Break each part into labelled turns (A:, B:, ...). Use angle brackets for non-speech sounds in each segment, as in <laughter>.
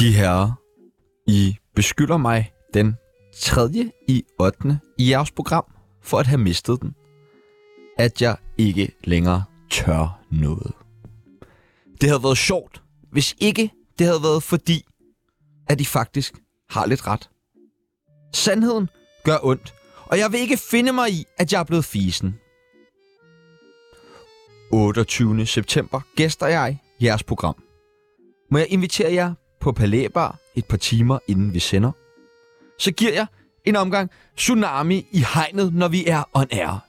A: De herrer, I beskylder mig den 3. i 8. i jeres program for at have mistet den. At jeg ikke længere tør noget. Det havde været sjovt, hvis ikke det havde været fordi, at I faktisk har lidt ret. Sandheden gør ondt, og jeg vil ikke finde mig i, at jeg er blevet fisen. 28. september gæster jeg jeres program. Må jeg invitere jer på Palæbar et par timer inden vi sender? Så giver jeg en omgang tsunami i hegnet, når vi er on air.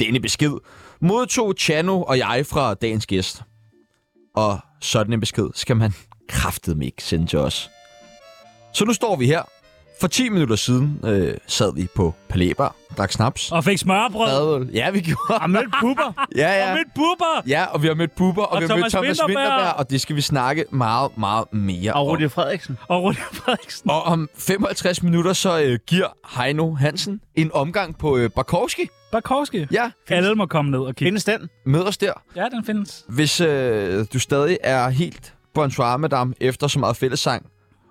A: Denne besked modtog Chano og jeg fra dagens gæst. Og sådan en besked skal man kraftedeme ikke sende til os. Så nu står vi her. For 10 minutter siden øh, sad vi på Palæbar, drak snaps.
B: Og fik smørbrød.
A: Ja, vi gjorde.
B: Og mødte
A: <laughs>
B: buber.
A: Ja, ja.
B: Og mødte buber.
A: Ja, og vi har mødt Bubber, og, og vi har mødt
B: Thomas
A: Thomas
B: Vinterberg.
A: Vinterberg, og det skal vi snakke meget, meget mere
C: Og
A: om.
C: Rudi Frederiksen.
B: Og Rune Frederiksen.
A: Og om 55 minutter, så øh, giver Heino Hansen en omgang på øh, Barkowski.
B: Barkowski.
A: Ja,
B: Alle må komme ned og kigge.
C: Findes den?
A: mød os der.
B: Ja, den findes.
A: Hvis øh, du stadig er helt bonsoir, madame, efter så meget fællesang,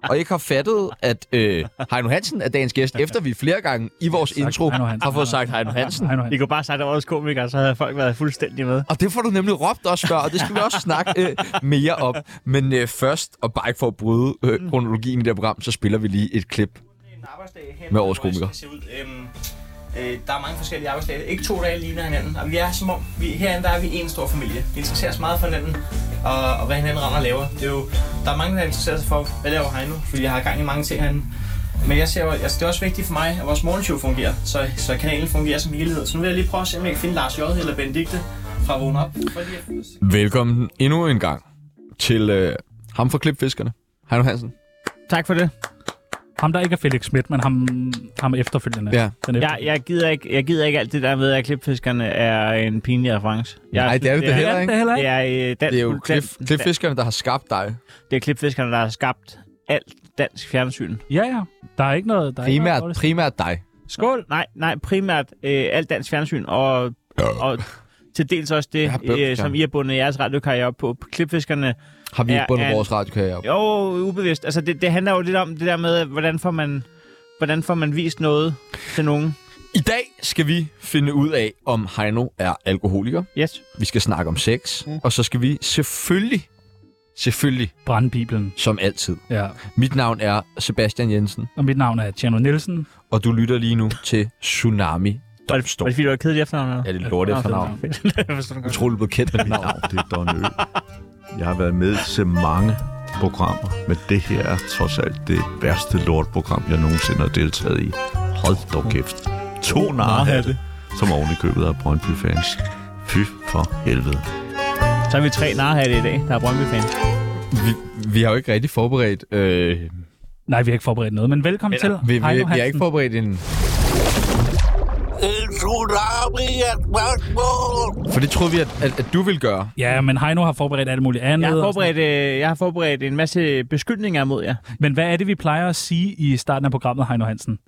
A: og ikke har fattet, at øh, Heino Hansen er dagens
B: <laughs>
A: gæst, efter vi flere gange i vores intro
B: Heino Hansen.
A: har fået sagt Heino Hansen.
B: Hej nu, hej.
C: I kunne bare have sagt, at årets komiker, så havde folk været fuldstændig med.
A: Og det får du nemlig råbt også før, og det skal vi også snakke øh, mere om. Men øh, først, og bare ikke for at bryde øh, kronologien i det her program, så spiller vi lige et klip.
D: en arbejdsdag her,
A: Med årets
D: hvor jeg
A: komiker.
D: skal se ud. Øhm, øh, der er mange forskellige arbejdsdage. Ikke to dage ligner hinanden. Og vi er som om, vi, herinde der er vi en stor familie. Vi interesserer os meget for hinanden, og, og hvad hinanden render og laver. Det er jo, der er mange, der interesserer sig for, hvad laver Heino, fordi jeg har gang i mange ting herinde. Men jeg ser, jo- altså, det er også vigtigt for mig, at vores morgenshow fungerer, så, så kanalen fungerer som helhed. Så nu vil jeg lige prøve at se, om jeg kan finde Lars J. eller Benedikte fra Vågen Op. For lige at...
A: Velkommen endnu en gang til øh, ham fra Klipfiskerne, Heino Hansen.
C: Tak for det.
B: Ham, der ikke er Felix Schmidt, men ham, ham efterfølgende.
A: Ja.
B: Den efter.
C: Jeg, jeg, gider ikke, jeg gider ikke alt det der med, at klipfiskerne er en pinlig reference. Jeg
A: Nej, det er det da
C: det
A: heller
B: ja, det
A: ikke.
B: er heller
C: Det
B: ikke.
C: er, øh, dansk,
A: Det er jo
C: dan-
A: klip, Klipfiskerne, der har skabt dig.
C: Det er klipfiskerne, der har skabt alt dansk fjernsyn.
B: Ja, ja. Der er ikke noget... Der er ikke noget
A: Primært,
B: dårligt.
A: primært dig.
C: Skål! Nej, nej primært øh, alt dansk fjernsyn, og,
A: <laughs>
C: og til dels også det,
A: Jeg har bøvl,
C: øh,
A: Karen.
C: som I har bundet jeres radiokarriere op på. Klipfiskerne
A: Har vi
C: Ja,
A: ikke bundet
C: ja.
A: vores radiokarriere op?
C: Jo, ubevidst. Altså, det, det handler jo lidt om det der med, hvordan får man, hvordan får man vist noget til nogen.
A: I dag skal vi finde ud af, om Heino er alkoholiker.
C: Yes.
A: Vi skal snakke om sex.
C: Mm.
A: Og så skal vi selvfølgelig, selvfølgelig,
B: Brandbibelen.
A: som altid.
B: Ja.
A: Mit navn er Sebastian Jensen.
B: Og mit navn er Tjerno Nielsen.
A: og du lytter lige nu til Tsunami
C: Var det, var
A: Domstol.
C: det fordi, du var kedeligt efternavn? eller?
A: Ja, det er lort efternavn.
C: Jeg forstår det godt.
A: Utroligt blevet kendt med mit navn.
E: Det er Don Ø. Jeg har været med til mange programmer, men det her er trods alt det værste lortprogram, jeg nogensinde har deltaget i. Hold dog kæft. To narhatte, som oven i købet af Brøndby-fans. Fy for helvede.
C: Så er vi tre narhatte i dag, der er Brøndby-fan.
A: Vi, vi har jo ikke rigtig forberedt... Øh,
B: Nej, vi har ikke forberedt noget, men velkommen til.
A: vi, vi,
B: Heino
A: vi har
B: Hansen.
A: ikke forberedt en... For det troede vi, at, at, at du ville gøre.
B: Ja, men Heino har forberedt alt muligt andet.
C: Jeg har,
B: og
C: forberedt, øh, jeg har forberedt en masse beskyldninger mod jer.
B: sådan. Men hvad er det, vi plejer at sige i starten af programmet, Heino Hansen?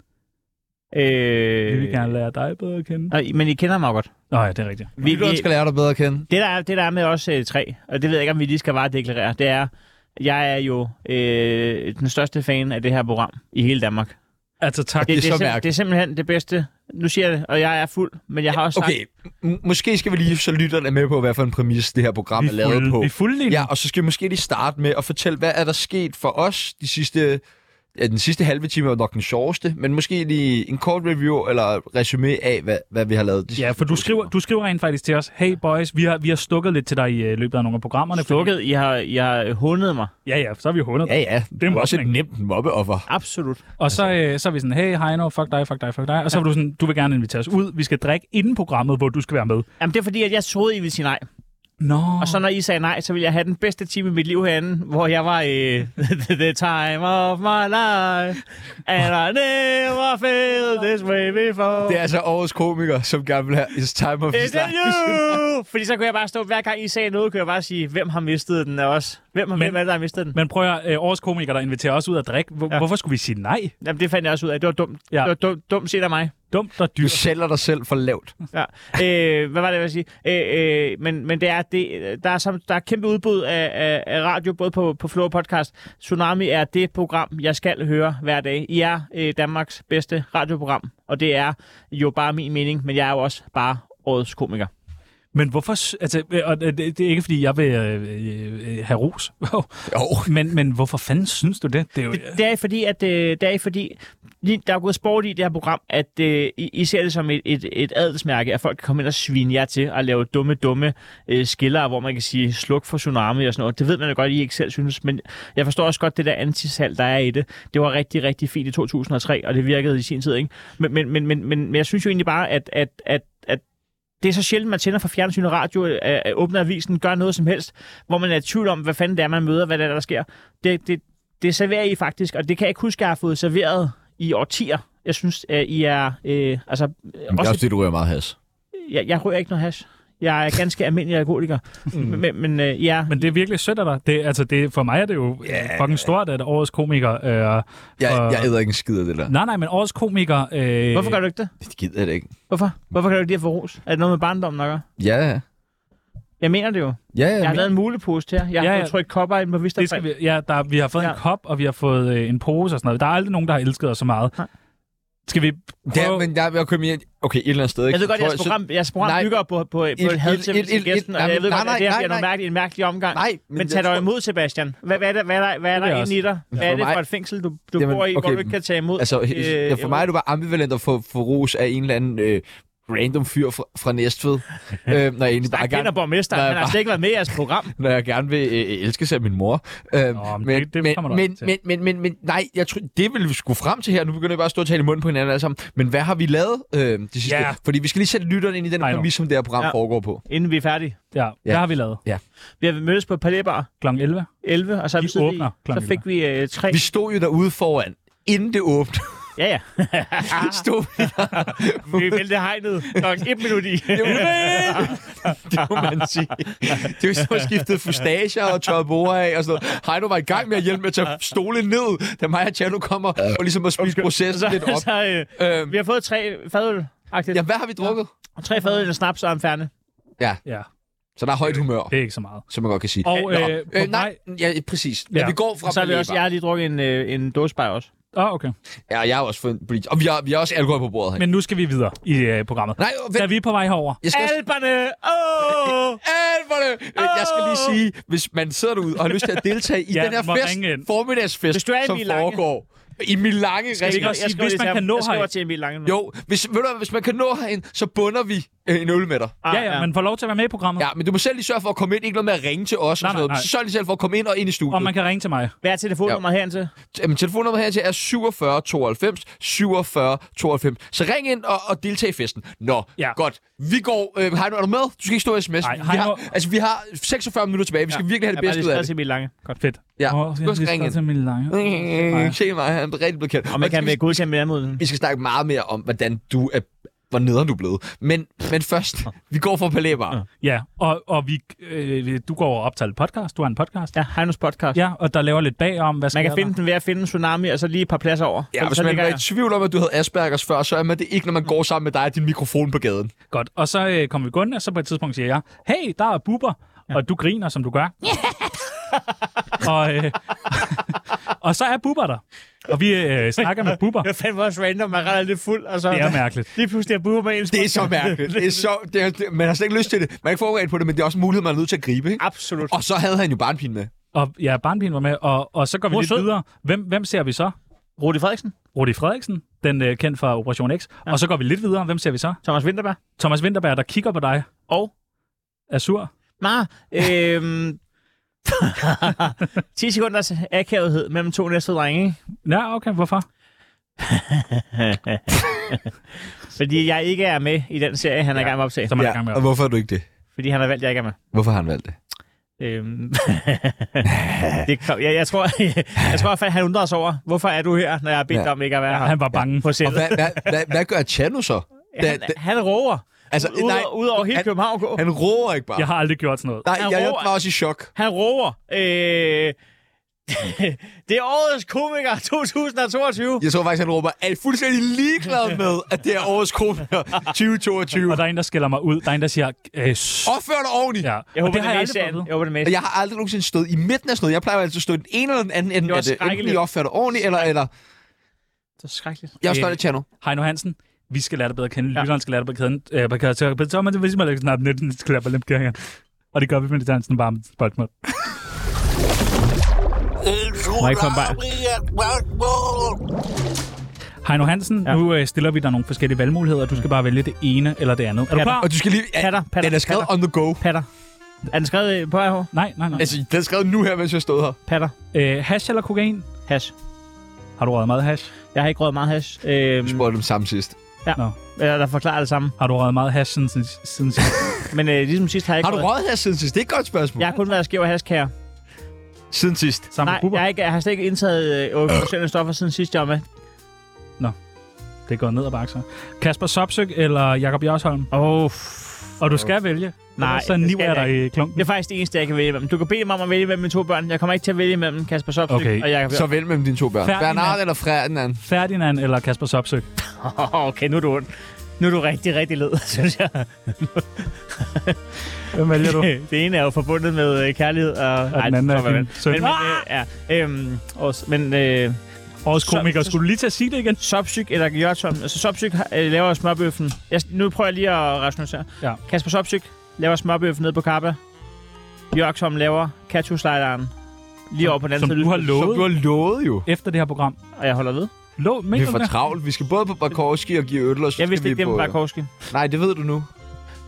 B: Vi vil
C: Øh,
B: gerne lære dig bedre at kende.
C: og I- men I kender mig jo godt.
B: Nå ja, det er rigtigt.
C: Vi,
A: Lytteren skal lære dig bedre at kende.
C: det, der er, det, der er med os øh, tre, og det ved jeg ikke, om vi lige skal bare deklarere, det er, jeg er jo øh, den største fan af det her program i hele Danmark.
B: Altså tak.
A: Det er
C: det,
A: så
C: er simpel-
A: mærkeligt.
C: det er simpelthen det bedste. Nu siger jeg det, og jeg er fuld, men jeg har også
A: Okay,
C: sagt...
A: m- måske skal vi lige så lytterne med på, hvad for en præmis det her program
B: Vi
A: er
B: er
A: lavet
B: fulde,
A: på.
B: vi er fulde lige nu.
A: Ja, og så skal vi måske lige starte med at fortælle, hvad er der sket for os de sidste... Ja, den sidste halve time var nok den sjoveste, men måske lige en kort review eller resume af, hvad, hvad vi har lavet. de
B: Ja,
A: sidste
B: for du
A: to
B: skriver,
A: timer.
B: du skriver rent faktisk til os, hey boys, vi har, vi har stukket lidt til dig i øh, løbet af nogle af programmerne. fordi-
C: Stukket, I har, I har hundet mig.
B: Ja, ja, så er vi 100.
A: Ja, ja. Det er også et
B: mobning.
A: nemt mobbeoffer.
C: Absolut.
B: Og så, øh, så er vi sådan, hey Heino, fuck dig, fuck dig, fuck dig. Og så var du sådan, du vil gerne invitere os ud, vi skal drikke inden programmet, hvor du skal være med.
C: Jamen, det er fordi, at jeg troede, I ville sige nej.
B: Nå.
C: Og så når I sagde nej, så ville jeg have den bedste time i mit liv herinde, hvor jeg var i <laughs> the time of my life, and I never felt this way before.
A: Det er altså årets komiker, som gerne vil have his time of his
C: Is it
A: life.
C: <laughs> you? Fordi så kunne jeg bare stå, hver gang I sagde noget, kunne jeg bare sige, hvem har mistet den af os? Hvem har hvem
B: Men-
C: er det, der har mistet den?
B: Men prøv at høre, øh, årets komiker, der inviterer os ud at drikke. Hvor,
C: Ja.
B: ja. Hvorfor skulle vi sige nej?
C: Jamen, det fandt jeg også ud af. Det var dumt.
B: Ja.
C: Det var dumt, dumt set af mig.
B: Dumt og
A: Du
B: dyrt.
A: sælger dig selv for lavt.
C: Ja. Øh, hvad var det, jeg ville sige? Øh, øh, men, men det er, det, der, er, som, der er kæmpe udbud af, af, af radio, både på, på Flow og podcast. Tsunami er det program, jeg skal høre hver dag. I er øh, Danmarks bedste radioprogram, og det er jo bare min mening, men jeg er jo også bare årets komiker.
B: Men hvorfor... s- Altså, øh, og det, det er ikke, fordi jeg vil øh, øh, øh, have ros.
A: Jo.
B: men, men hvorfor fanden synes du det? Det er jo...
C: Det, det er fordi, at øh, det er fordi lige- der er gået sport i det her program, at øh, I, I ser det som et, et, et adelsmærke, at folk kan komme ind og svine jer til at lave dumme, dumme øh, skiller, hvor man kan sige sluk for tsunami og sådan noget. Det ved man jo godt, I ikke selv synes, men jeg forstår også godt det der antisal, der er i det. Det var rigtig, rigtig fint i 2003, og det virkede i sin tid, ikke? Men, men, men, men, men, men jeg synes jo egentlig bare, at, at, at, at det er så sjældent, man tænder for fjernsyn og radio, øh, øh, åbner avisen, gør noget som helst, hvor man er i tvivl om, hvad fanden det er, man møder, hvad det er, der sker. Det, det, det serverer I faktisk, og det kan jeg ikke huske, at jeg har fået serveret i årtier. Jeg synes, at I er... Øh, altså,
A: Jamen, det er også
C: også,
A: det, du rører meget has.
C: jeg, jeg rører ikke noget hash. Jeg er ganske almindelig alkoholiker. Men, men øh, ja,
B: Mm. Men det er virkelig sødt af dig. Det, altså, det, for mig er det jo yeah. fucking stort, at årets komiker... Øh,
A: Jeg,
B: Og-
A: jeg æder ikke en skid af det der.
B: nej, nej, men årets komiker... Øh,
C: hvorfor gør du ikke det?
A: Det gider jeg det ikke.
C: Hvorfor? Hvorfor kan du ikke lide at få ros? Er det noget med barndommen, der gør?
A: Ja, ja.
C: Jeg mener det jo.
A: Ja, ja.
C: Jeg har
A: men-
C: lavet en mulepose til jer. Jeg har
B: Ja,
C: ja,
B: ja.
C: ja. trykt kopper ind på
B: det skal
C: Visterfald.
B: vi, ja, der, vi har fået ja.
C: Ja.
B: en kop, og vi har fået øh, en pose og sådan noget. Der er aldrig nogen, der har elsket os så meget.
C: Nej.
B: Skal vi
A: Ja,
B: prøve...
A: men jeg vil komme hjem. Okay, et eller andet sted.
C: Jeg ved godt,
A: Tror
C: jeres program, jeres program
A: Nej.
C: bygger på, på, på et, et had til,
A: et-
C: til
A: et-
C: gæsten,
A: et-
C: og jeg ved
A: nej,
C: godt, at det her
A: nej,
C: bliver nogle
A: nej.
C: mærkelig, en mærkelig omgang.
A: Nej,
C: men, men tag dig imod, Sebastian. Hvad, hvad er der, hvad er der, hvad er
B: Det
C: der
B: er
C: inde i dig? Hvad er
A: For
C: det for
A: mig-
C: et fængsel, du, du
A: Jamen,
C: bor i, hvor
A: okay.
C: du ikke kan tage
B: <laughs>
C: imod?
A: Altså,
C: øh,
A: øh, for mig er det bare ambivalent at få, få ros af en eller anden øh, random fyr fra, fra
B: <laughs>
A: Næstved, øh, når jeg egentlig bare
C: Jeg kender
A: gerne,
C: borgmesteren,
A: Nej,
C: han har
A: bare-
C: slet ikke været med i jeres program.
A: når jeg gerne vil øh, elske sig af min mor. Øh,
B: Nå, men
A: men,
B: det- det
A: men,
B: kommer du
A: men,
B: til.
A: men, men, men, men, nej, jeg tror, det vil vi skulle frem til her. Nu begynder vi bare at stå og tale i munden på hinanden alle sammen. Men hvad har vi lavet øh, de sidste?
B: Ja.
A: Fordi vi skal lige sætte lytterne ind i den
B: I know.
A: præmis, som det her program
C: Ja.
A: ja. foregår på.
C: Inden vi er færdige.
B: Ja, hvad har vi lavet?
C: Vi har mødtes på Palæbar
B: Kl. 11?
C: 11, og så, har vi
B: Vi
C: siddet
B: åbner
C: i,
B: klokken
C: så fik vi øh, tre.
A: Vi stod jo derude foran, inden det åbnede.
C: Ja, <laughs> ja.
A: <laughs> stod vi
C: Vi vælte hegnet klokken et minut
A: <laughs>
C: i.
A: Det var, <laughs> det må man sige. Det var så skiftet fustager og tørret borer af og sådan noget. Heino var i gang med at hjælpe med at tage stole ned, da mig og Tjerno kommer og ligesom at spise
C: <laughs>
A: processen lidt
B: <laughs>
A: op.
C: så, øh,
A: Øhm,
C: vi har fået tre fadøl.
A: ja,
C: Ja.
A: hvad har vi drukket?
C: Tre fadøl, en snaps og en færne.
B: Ja,
A: Så der er højt humør,
B: det er ikke så meget.
A: som man godt kan sige.
B: Og
A: Nå,
B: øh, på
A: øh,
B: nej.
A: nej, ja, præcis. Ja.
B: Ja.
A: vi går fra
C: Og så er det også, jeg har lige drukket en, øh, en dåsebajer også.
B: Åh, oh, okay.
A: Ja, jeg har også fået en bleach. Og vi har, vi har også alkohol på bordet her. Men...
B: Men nu skal vi videre i øh, programmet.
A: Nej, vent.
B: Da vi er på vej herover.
A: Jeg skal,
C: Alberne! Åh!
A: Alberne! Øh, Jeg skal lige sige, hvis man sidder derude og har lyst til at deltage i
B: Ja,
A: den her
B: må
A: fest,
B: ringe ind.
A: formiddagsfest,
C: Hvis du er i
A: som
C: Milange.
A: foregår i Milange,
B: vi
A: ringer
B: ikke også sige, hvis man kan nå
C: Jeg skriver
B: herind.
C: til Emil Lange nu.
A: Jo, hvis, ved du, hvad, hvis man kan nå herind, så bunder vi øh, en øl med dig.
C: Ah,
B: Ja, ja, man får lov til at være med i programmet.
A: Ja, men du må selv lige sørge for at komme ind. Ikke noget med at ringe til os.
B: Nej,
A: og sådan
B: nej,
A: noget.
B: nej.
A: Så Sørg lige selv for at komme ind og ind i studiet.
B: Og man kan ringe til mig.
C: Hvad er telefonnummeret herind til?
A: Jamen, telefonnummeret her til er 47 92 47 92. Så ring ind og, og deltag i festen. Nå,
B: Ja.
A: ja. godt. Vi går... Øh, Heino, er du med? Du skal ikke stå i sms.
B: Nej,
A: vi
B: Heino-
A: har, altså, vi har 46 minutter tilbage. Vi skal virkelig have det
C: Jeg har
A: bedste
C: bare
A: ud af
C: lige skrevet
A: det.
C: til Emil Lange. Godt.
B: Fedt.
A: Ja,
B: Åh,
A: du
B: jeg
A: skal ringe ind.
B: til Emil Lange.
A: Øh, <laughs> Se mig, han er rigtig blevet kendt.
C: Og man kan med godkende med anmodningen.
A: Vi skal snakke meget mere om, hvordan du er hvor nederen du er blevet. Men, men først, vi går fra Palæ Bar.
B: Ja, og, og vi, øh, du går og optager et podcast. Du har en podcast.
C: Ja, Heinos podcast.
B: Ja, og der laver lidt bagom, hvad sker
C: Man kan
B: der?
C: finde den ved at finde en tsunami, og så lige et par pladser over.
A: Ja,
C: Så-
A: hvis
C: så
A: man
C: ligger
A: var i
C: jeg-
A: tvivl om, at du havde Aspergers før, så er man det ikke, når man går sammen med dig og din mikrofon på gaden.
B: Godt. Og så øh, kommer vi gående, og så på et tidspunkt siger jeg, hey, der er buber, ja. og du griner, som du
C: <laughs>
B: gør. og, øh, <laughs> og så er buber der. Og vi øh, snakker med buber.
C: Det var fandme også random, man render lidt fuld, og så...
B: Det er mærkeligt.
C: altså. Lige pludselig er buber med en
A: Det er
C: <laughs>
A: så mærkeligt. Det er så, det er, det, man har slet ikke lyst til det. Man er ikke forberedt på det, men det er også en mulighed, man er nødt til at gribe. Ikke?
C: Absolut.
A: Og så havde han jo barnpin med.
B: Og ja, barnpigen var med, og, og så går vi
C: Hvor
B: lidt
C: sød.
B: videre. Hvem, hvem ser vi så?
C: Rudi Frederiksen.
B: Rudi Frederiksen, den øh, kendt fra Operation X. Ja. Og så går vi lidt videre. Hvem ser vi så?
C: Thomas Winterberg.
B: Thomas Winterberg, der kigger på dig,
C: Og...
B: er sur.
C: Nej, <laughs> øhm... 10 sekunders akavethed mellem to næste drenge, ikke?
B: Ja, okay, hvorfor?
C: Fordi jeg ikke er med i den serie, han er i gang med at optage.
B: Så man ja. er i gang med
A: og
B: at...
A: hvorfor er du ikke det?
C: Fordi han har valgt, at jeg ikke er med.
A: Hvorfor har han valgt det?
C: Øhm, <laughs> det kom, jeg, jeg, tror, <laughs> jeg, tror i hvert fald, han undrer sig over, hvorfor er du her, når jeg har bedt
A: Ja.
C: dig om ikke at være her
B: Han var bange.
C: på
A: Og
C: sættet.
A: hvad, hvad, hvad, hvad gør Tjerno så? Da,
C: Han,
A: da,
C: han råber.
A: Altså, nej,
C: Udover ud over hele
A: han-
C: København gå.
A: han roer ikke bare.
B: Jeg har aldrig gjort sådan noget.
A: Nej,
C: han
A: jeg, jeg
C: roer-
A: var også i chok.
C: Han roer. Øh, <laughs> det er årets komiker <laughs> 2022.
A: Jeg tror faktisk, han råber, er I fuldstændig ligeglad med, at det er årets
C: <laughs>
A: komiker 2022?
B: Og der er en, der skælder mig ud. Der er en, der siger... Øh, s-
A: Opfør dig ordentligt.
B: ja.
C: Jeg
B: Og
C: håber,
B: det
C: det,
B: har jeg
C: er med i
B: aldrig
C: serien.
B: fået at
C: Jeg håber, det er med.
A: Og jeg har aldrig nogensinde stået i midten af sådan noget. Jeg plejer altid at stå i den ene eller den anden ende.
C: Det var
A: af det enten
C: skrækkeligt.
A: I opfører dig ordentligt, eller, eller
C: Det er skrækkeligt.
A: jeg er
B: Øh.
A: stolt af Tjerno.
B: vide. Heino Hansen, vi skal lære dig bedre at kende. Ja. Lytteren skal lære dig bedre at kende. Øh, bedre at kende. Så er man det, hvis man lægger snart netten, skal lære dem kære. Og det gør vi med det dansen varme spørgsmål.
C: Må jeg ikke komme bare?
B: Heino Hansen, ja.
C: Ja.
B: nu øh, stiller vi dig nogle forskellige valgmuligheder. Du skal bare vælge det ene eller det andet. Er du
C: Ja,
B: klar?
A: Og du skal lige...
C: Patter, patter,
A: den er skrevet on the go.
C: Øh, Patter. Er den skrevet øh, på RH?
B: Nej, nej, nej.
A: Altså, den er skrevet nu her, mens jeg stod her.
C: Patter.
B: Øh, hash eller kokain?
C: Hash.
B: Har du røget meget hash?
C: Jeg har ikke røget meget hash. Øhm,
A: Du spurgte dem samme sidst.
C: jeg der forklarer det samme.
B: Har du røget meget hash siden, siden, siden
C: Men øh, ligesom sidst har jeg ikke
A: Har du røget her siden sidst? Det er et godt spørgsmål.
C: Jeg har kun været skæv og hash, kære.
A: Siden sidst.
B: sammen
C: Nej,
B: med Bubber?
C: jeg, har ikke, jeg har slet ikke indtaget øh, overførende stoffer siden sidst, jeg var med.
B: Det går ned ad bakke, så. Kasper Sopsøk eller Jakob Jørsholm?
C: Oh,
B: Og du skal vælge.
C: Nej,
B: Ellers så
C: det skal
B: niver jeg
C: jeg
B: dig i klumpen.
C: det er faktisk det eneste, jeg kan vælge imellem. Du kan bede mig om at vælge mellem mine to børn. Jeg kommer ikke til at vælge mellem Kasper Sopsøk
B: Okay.
C: og Jacob
A: Så vælg mellem dine to børn.
B: Ferdinand.
A: Bernard eller Ferdinand.
B: Ferdinand eller Kasper Sopsøk?
C: Jørgensen. <laughs> okay, nu er du ond. Nu er du rigtig, rigtig led, <laughs> synes jeg.
B: Hvem vælger <laughs> du?
C: <laughs> det ene er jo forbundet med øh, kærlighed, og, og
B: den anden er din søn.
C: Men, men,
A: Ah!
C: øh, ja, øhm, også, men øh,
B: Årets
C: Så-
B: komiker, skulle du lige til at sige det igen?
C: Sopsyk eller Jørgensen, altså Sopsyk øh, laver smørbøffen. Jeg, nu prøver jeg lige at rationalisere.
B: Ja.
C: Kasper Sopsyk laver smørbøffen nede på Kappa. Jørgensen laver katuslejleren lige over på den anden
B: Som
C: side. af
B: du har
C: lyset.
A: Som
B: lovet
A: du har lovet jo.
B: efter det her program.
C: Og jeg holder ved.
B: Lå,
A: Vi
B: mener
A: er
B: du
A: for
B: det?
A: travlt. Vi skal både på Barkowski og give øl, og så
C: Jeg
A: skal
C: vidste
A: vi
C: ikke, det var
A: på...
C: Barkowski.
A: Nej, det ved du nu.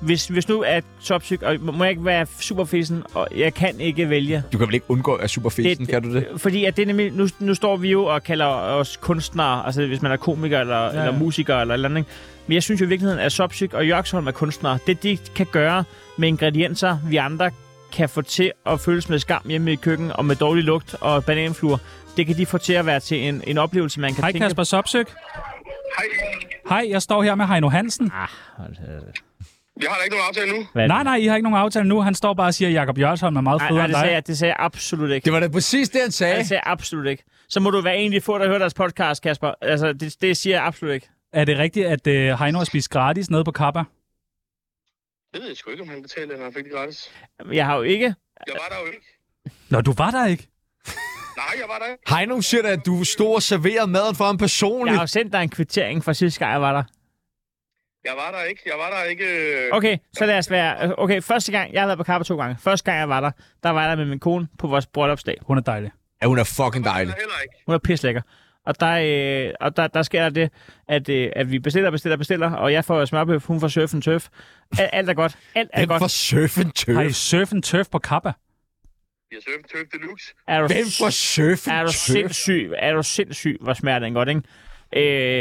C: Hvis, hvis nu er topsyk, og må jeg ikke være superfisen, og jeg kan ikke vælge.
A: Du kan vel ikke undgå at superfesten,
C: Det-
A: kan du det?
C: Fordi at det er nemlig, nu, nu står vi jo og kalder os kunstnere, altså hvis man er komiker eller, ja. eller musiker eller et eller andet. ikke? Men jeg synes jo i virkeligheden, at Sopsyk og Jørgsholm er kunstnere. Det de kan gøre med ingredienser, vi andre kan få til at føles med skam hjemme i køkken og med dårlig lugt og bananfluer, det kan de få til at være til en, en oplevelse, man kan
B: Hej
C: tænke
B: Kasper Sopsøk. Hej. Hej, jeg står her med Heino Hansen.
F: Vi har da ikke nogen aftale nu.
C: Hvad er det?
B: Nej, nej, I har ikke nogen aftale nu. Han står bare og siger, at Jakob Jørgensholm er meget
C: Nej,
B: federe
C: nej,
B: end
C: det sagde
B: dig.
C: jeg, det sagde jeg absolut ikke.
A: Det var da præcis det, han sagde.
C: Det sagde jeg absolut ikke. Så må du være en af de få, der hører deres podcast, Kasper. Altså, det, det siger jeg absolut ikke.
B: Er det rigtigt, at øh, Heino har spist gratis nede på Kappa?
F: Det ved jeg sgu ikke, om han betalte, eller han fik det gratis.
C: Jeg har jo ikke...
F: Jeg var der jo ikke.
B: Nå, du var der ikke.
F: Nej, jeg var der ikke.
A: Heino siger da, at du stod og serverede maden for ham
C: Jeg
A: personligt.
C: har jo sendt dig en kvittering fra sidste gang, jeg var der.
F: Jeg var der ikke. Jeg var der ikke. øh,
C: Okay, så lad os være... øh, Okay, første gang... Jeg har været på Kappa to gange. Første gang, jeg var der, der var jeg der med min kone på vores bryllupsdag.
B: Hun er dejlig.
A: Ja, hun er fucking
F: Jeg
A: dejlig.
F: var der heller ikke.
C: Hun er pislækker. Og der, øh, og der, der sker der det, at, øh, at vi bestiller, bestiller, bestiller, og jeg får smørbøf, hun får surf and turf. Alt, alt er godt. Alt er
A: Den
C: godt.
A: fra Surfen Turf.
B: Har I surfen turf på Kappa?
F: Vi har søgt Turk Deluxe.
C: Er du
A: Hvem fra Surfen
C: er du
A: Turf?
C: sindssyg, er du sindssyg, hvor smager den godt, ikke?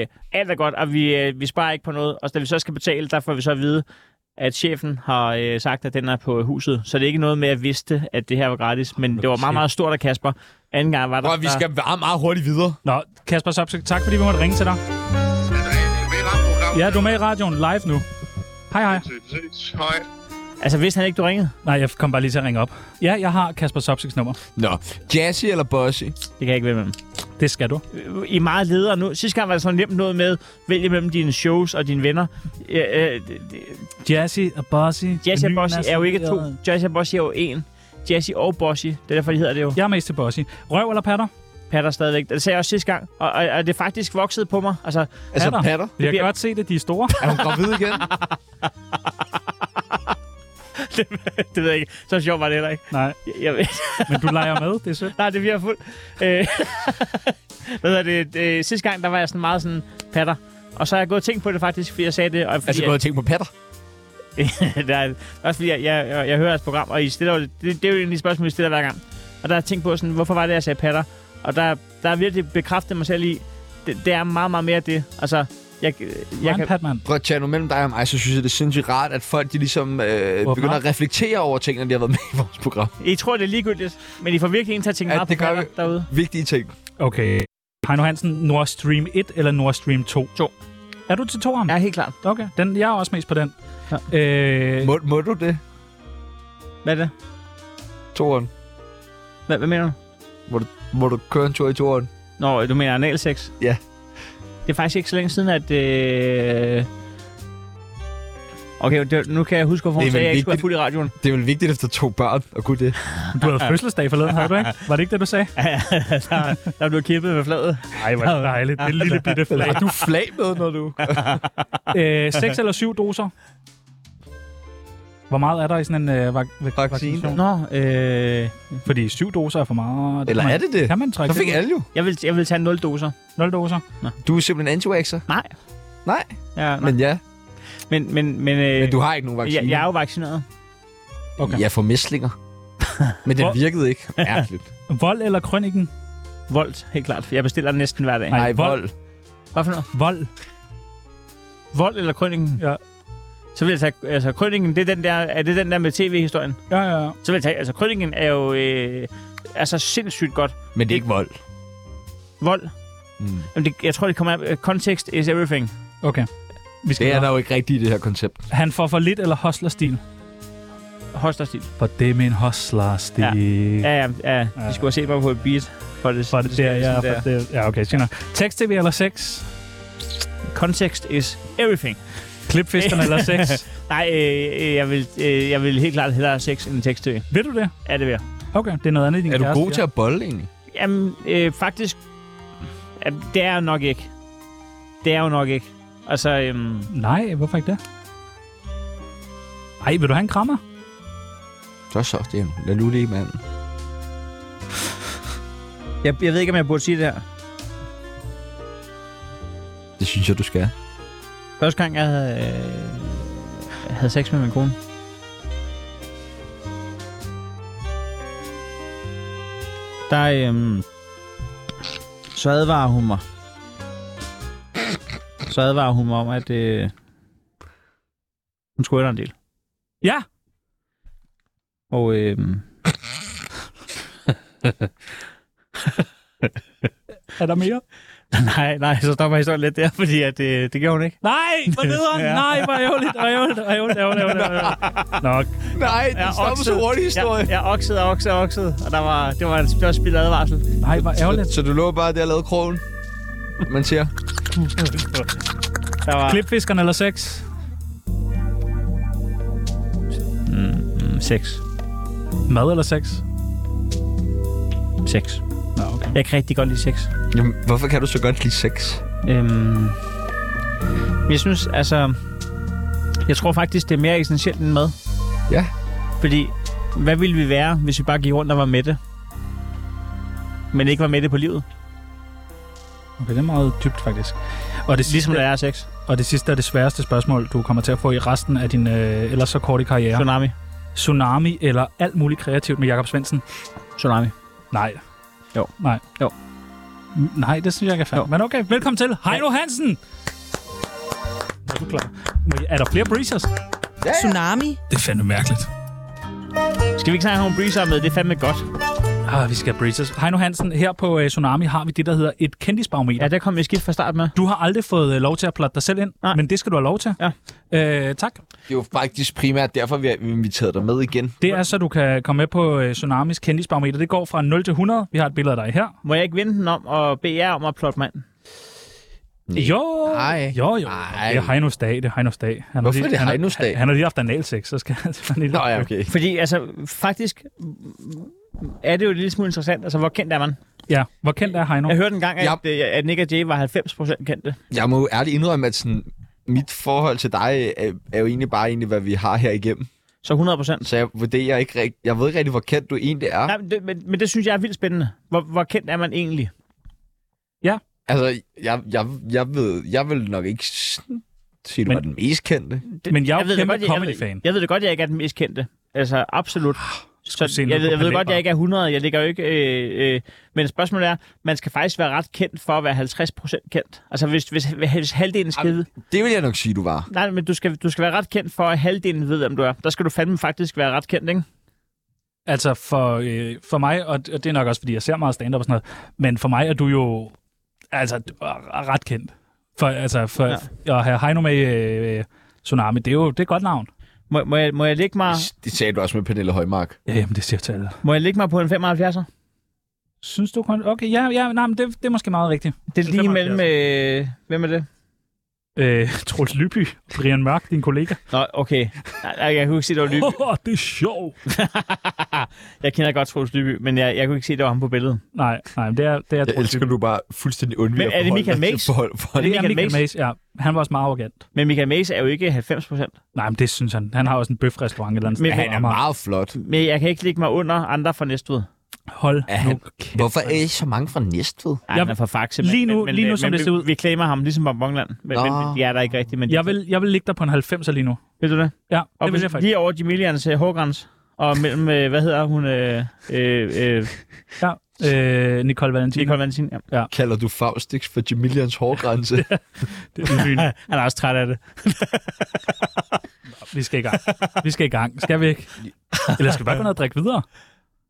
C: Øh, alt er godt, og vi, øh, vi sparer ikke på noget. Og da vi så skal betale, der får vi så at vide, at chefen har øh, sagt, at den er på huset. Så det er ikke noget med, at jeg vidste, at det her var gratis. Men det var meget, meget stort af Kasper. Anden gang var der...
A: Prøv, vi skal bare meget hurtigt videre.
B: Nå, Kasper Sopsøk, tak fordi vi måtte ringe til dig.
F: Altså, det er med i rammeprogrammet.
B: Ja, du er med i radioen live nu. Hej, hej.
F: Ses, ses. Hej.
C: Der, altså, vidste han ikke, du ringede?
B: Nej, jeg kom bare lige til at ringe op. Ja, jeg har Kasper Sopsøks nummer.
A: Nå, Jazzy eller Bossy?
C: Det kan jeg ikke vælge mellem.
B: Det skal du.
C: Øh, I er meget ledere nu. Sidste gang var det sådan nemt noget med, vælge mellem dine shows og dine venner. Øh, øh, det- det-
B: Jazzy og Bossy.
C: Jazzy og
B: Den nye
C: Bossy er jo ikke to.
B: nationale-
C: Jazzy og Bossy er jo én. Jazzy og Bossy. Det er derfor, de hedder det jo.
B: Jeg er mest til Bossy. Røv eller patter?
C: patter stadigvæk. Det sagde jeg også sidste gang, og, og, og det er faktisk vokset på mig. Altså,
A: Altså
B: Patter.
A: patter.
B: Jeg kan
C: bliver-
B: godt se det, de er store.
A: Er hun gravid igen?
C: <laughs> det, det ved jeg ikke. Så sjovt var det heller ikke.
B: <laughs> Nej,
C: Jeg, jeg, ved- <laughs>
B: men du leger med, det er sødt.
C: nej, det bliver fuldt. Øh, <laughs> hvad hedder det, det, sidste gang, der var jeg sådan meget sådan patter. Og så har jeg gået og tænkt på det faktisk, fordi jeg sagde det. Og fordi
A: Altså,
C: jeg-
A: gå og tænke på patter.
C: <laughs> der er, også fordi, jeg, jeg, jeg, jeg hører jeres program, og I stiller, jo- det, det er jo egentlig et spørgsmål, I stiller hver gang. Og der har jeg tænkt på, sådan, hvorfor var det, jeg sagde patter? Og der, der har virkelig bekræftet mig selv i, det, det er meget, meget mere det. Altså, jeg, jeg
B: Jeg
C: kan,
B: kan... Patman.
A: Prøv at tage nu mellem dig og mig, så synes jeg, det er sindssygt rart, at folk de ligesom øh,
B: Hvorfor?
A: begynder at reflektere over tingene, de har været med i vores program.
C: I tror, det er ligegyldigt, men I får virkelig en til at tænke
A: Ja,
C: meget
A: det
C: på
A: gør
C: patter
A: vi.
C: derude.
A: Vigtige ting.
B: Okay. Heino Hansen, Nord Stream 1 eller Nord Stream 2? 2. Er du til toeren?
C: Ja, helt klart.
B: Okay, den, jeg er også mest på den. Ja. Øh,
A: Må, må du det,
C: Hvad er det?
A: Toren?
C: Hvad, hvad mener du?
A: Må du køre en tur i Toren?
C: Nå, du mener analsex?
A: Ja.
C: Det er faktisk ikke så længe siden, at... Øh... Okay, det, nu kan jeg huske, hvorfor
A: Det er
C: hun sagde,
A: vel
C: at jeg ikke skulle være
A: vigtigt.
C: fuld i
A: <laughs>
C: radioen.
A: Det er vel vigtigt efter to børn at kunne det.
B: du
C: <laughs>
B: havde fødselsdag forleden, havde du ikke? Var det ikke det, du sagde?
C: der, der blev kippet med fladet.
B: Nej, hvor er det dejligt. Det
C: <laughs>
B: lille bitte flag.
A: Har du flag med, når du...
B: øh, 6 eller 7 doser. Hvor meget er der i sådan en øh, vak- vak-
A: Vaccine.
B: vaccination?
C: Nå, øh...
B: Fordi 7 doser er for meget.
A: <laughs> Eller er det det?
B: Kan man
A: Så
B: trække
A: fik alle jo.
C: Jeg vil, jeg vil tage 0 doser.
B: 0 doser?
A: Du er simpelthen anti-vaxxer.
C: Nej.
A: Nej,
C: Ja,
A: men ja.
C: men, men, men, øh,
A: Men du har ikke nogen
C: jeg,
A: vaccine.
C: jeg er jo vaccineret.
B: Okay.
A: Jeg får mæslinger. Men den
B: Hvor-
A: virkede
B: <laughs>
A: ikke. Mærkeligt.
B: Vold eller krønningen?
C: Voldt, helt klart. Jeg bestiller den næsten hver dag.
B: Nej.
A: Ej,
B: vold.
A: vold.
C: Hvad for noget?
B: Vold.
C: Vold eller krønningen?
B: Ja.
C: Så vil jeg tage... Altså, krønningen, det er den der, er det den der med tv-historien?
B: Ja, ja, ja.
C: Så vil jeg tage... Altså, krønningen er jo... Øh, altså, sindssygt godt.
A: Men det er ikke vold.
C: Vold.
A: Mm.
C: Jamen, det, jeg tror, det kommer af... øh, Context is everything.
B: Okay. Vi skal
A: Det er
B: videre.
A: der jo ikke rigtigt i det her koncept.
B: Han får for lidt eller hostlerstil?
C: Hosterstil.
B: For det er min hostlerstil.
C: Ja.
B: Ja.
C: Ja, ja, ja.
B: Ja.
C: De skulle have set mig på et beat. For det,
B: For det, der, ja,
C: sådan
B: for det, ja, okay, senere. Tekst tv eller sex?
C: Context is everything.
B: Klipfiskerne eller
C: <laughs>
B: sex?
C: Nej, øh, øh, jeg, vil, øh, jeg vil helt klart hellere have sex end tekst tv.
B: Ved du det?
C: Er det ved?
B: Okay, det er noget andet i din
A: Er du
B: kæreste,
A: god til
B: ja.
A: at bolle egentlig?
C: Jamen, øh, faktisk... Jamen, det er jeg nok ikke. Det er jeg jo nok ikke. Altså, øhm,
B: Nej, hvorfor ikke det? Ej, vil du have en krammer?
A: Så så, det er en lad nu lige, mand.
C: jeg, jeg ved ikke, om jeg burde sige det her.
A: Det synes jeg, du skal.
C: Første gang, jeg havde, øh, havde sex med min kone. Der, øhm, så advarer hun mig. Så advarer hun mig om, at øh, hun skulle ændre en del.
B: Ja.
C: Og øh,
B: Er der mere?
C: <laughs> nej, nej, så stopper historien lidt der, fordi at, øh, det gjorde hun ikke.
B: Nej, hvor nederen.
C: <laughs> Ja.
B: Nej, hvor ærgerligt. Hvor ærgerligt. Hvor ærgerligt. Hvor ærgerligt. Hvor ærgerligt. Nok.
A: Nej, det
C: oksede. Jeg, jeg oksede, oksede, oksede, og der var, det var en det var spild advarsel.
B: Nej, hvor ærgerligt.
A: Så, så du lå bare der og lavede krogen? Man siger,
C: Der var
B: Klipfiskerne eller sex?
C: mm, sex.
B: Mad eller sex?
C: Sex.
B: Nå, okay.
C: Jeg kan rigtig godt lide sex.
A: jamen, hvorfor kan du så godt lide sex?
C: Øhm, men jeg synes, altså... Jeg tror faktisk, det er mere essentielt end mad.
A: Ja.
C: Fordi, hvad ville vi være, hvis vi bare gik rundt og var mætte? Men ikke var mætte på livet.
B: Okay, det er meget dybt, faktisk. Og det,
C: Ligesom
B: sidste,
C: når jeg er sex.
B: og det sidste er det sværeste spørgsmål, du kommer til at få i resten af din øh, ellers så korte
C: Ja.
B: karriere.
C: Tsunami.
B: Tsunami eller alt muligt kreativt med Jakob Svendsen?
C: Tsunami.
B: Nej.
C: Jo.
B: Nej.
C: Jo.
B: N- Nej, det synes jeg ikke er fair. Men okay, velkommen til Heino Hansen! Er du klar? Må jeg- Er der flere breezers?
G: Tsunami.
B: Det er fandme mærkeligt.
C: Skal vi ikke snakke om breezer med? Det er fandme godt.
B: Ah, vi skal have breezers. Heino Hansen, her på øh, Tsunami har vi det, der hedder et kendisbarometer.
C: Ja, der kom jeg skidt fra start med.
B: Du har aldrig fået øh, lov til at plotte dig selv ind,
C: Nej.
B: men det skal du have lov til.
C: Ja.
B: Øh, tak.
A: Det er jo faktisk primært derfor, vi har inviteret dig med igen.
B: Det er så, du kan komme med på øh, Tsunamis kendisbarometer. Det går fra 0 til 100. Vi har et billede af dig her.
C: Må jeg ikke vende den om og bede jer om at plotte mand?
A: Nej.
B: Jo,
A: Nej.
B: jo, jo.
A: Nej.
B: Det er Heinos dag, det er Heinos dag. Han har
A: Hvorfor
B: lige-
A: er det
B: han har-
A: Heinos dag?
B: Han, han har lige haft analsex, så skal <laughs> han lige...
A: Nå ja, okay.
C: Fordi altså, faktisk er det jo en lille smule interessant. Altså, hvor kendt er man?
B: Ja, hvor kendt er Heino?
C: Jeg hørte engang, at,
A: Ja.
C: ja. at Nick og Jay var 90% kendte.
A: Jeg må jo ærligt indrømme, at sådan, mit forhold til dig er, er jo egentlig bare egentlig, hvad vi har her igennem.
C: Så 100%.
A: Så jeg vurderer ikke rigt- Jeg ved ikke rigtig, hvor kendt du egentlig er.
C: Nej, men, det, men, men det synes jeg er vildt spændende. Hvor, hvor kendt er man egentlig?
A: Altså, jeg, jeg, jeg ved... Jeg vil nok ikke sådan sige, du
B: Men-
A: var den mest kendte.
C: Det,
B: Men jeg er jo
C: da
B: kæmpe
C: godt, jeg- jeg ved-
B: comedy-fan. Ah,
C: Jeg ved det godt, jeg ikke er den mest kendte. Altså, absolut. Så
B: se
C: jeg,
B: noget
C: jeg,
B: på
C: jeg ved
B: Pallebaren.
C: godt, jeg ikke er 100. Jeg ligger jo ikke... Øh, øh, men spørgsmålet er, man skal faktisk være ret kendt for at være 50% kendt. Altså, hvis, hvis, hvis halvdelen skal...
A: Det vil jeg nok sige, du var.
C: Nej, men du skal, du skal være ret kendt for, at halvdelen ved, hvem du er. Der skal du fandme faktisk være ret kendt, ikke?
B: Altså for, øh, for mig, og og det er nok også, fordi jeg ser meget stand-up og sådan noget, men for mig er du jo altså, du er ret kendt. For, altså, for ja. at have Heino med i øh, Tsunami, det er jo det er et godt navn.
C: Må, må, jeg, må, jeg lægge mig,
A: Det sagde du også med Pernille Højmark.
B: Ja, jamen, det siger til alle.
C: må jeg lægge mig på en 75'er?
B: Synes du kun... Okay, ja, ja nej, men det, det er måske meget rigtigt.
C: Det er
B: En
C: lige
B: 75'er.
C: mellem... Øh, hvem er det?
B: Øh, <laughs> Troels Lyby, Brian Mørk, din kollega.
C: Nå, okay. Nej, nej, Jeg kunne ikke se, det var Lyby.
B: <laughs> Åh, oh, det er sjovt.
C: Jeg kender godt Troels Lyby, men jeg, jeg kunne ikke se, det var ham på billedet.
B: Nej, nej, men det er, det er
A: Jeg
B: Troels
A: elsker,
B: Lyby.
A: at du bare fuldstændig undviger
C: Men er det
A: forholde
C: Michael
A: dig
C: Mays?
A: til forhold- forhold-
C: det
B: Ja,
C: Michael
B: Michael
C: Mace?
B: Mace, ja. Han var også meget arrogant.
C: Men Michael Mace er jo ikke 90 procent.
B: Nej, men det synes han. Han har også en bøfrestaurant et eller andet
C: Men
B: sted.
A: Han er meget flot.
C: Men jeg kan ikke lægge mig under andre fra Næstved.
B: Hold
A: Er
B: nu
A: han-
B: kæft.
A: Hvorfor er I så mange fra Næstved?
C: Ej,
B: Jeg-
C: han er for faxe,
B: lige nu- lige nu,
C: øh,
B: som det
C: vi-
B: ser ud. Ah.
C: Vi claimer ham, ligesom Bonbonland. Men,
A: Nå.
C: men jeg er der ikke rigtigt. Men
B: Jeg vil, jeg vil ligge dig på en 90'er lige nu.
C: Ved du det?
B: Ja,
C: Og
B: det vil jeg
C: hvis-
B: faktisk.
C: lige over Jamilians øh, hårgræns. Og mellem, øh, hvad hedder hun? Øh, øh, øh,
B: Ja. Øh, Nicole Valentin.
C: Nicole Valentin.
B: <laughs>
C: Ja.
A: Kalder du Faustix for Jamilians hårgrænse?
C: Han er også træt af det.
B: Vi skal i gang. Vi skal i gang. Skal vi ikke? Eller skal vi bare gå ned og drikke videre?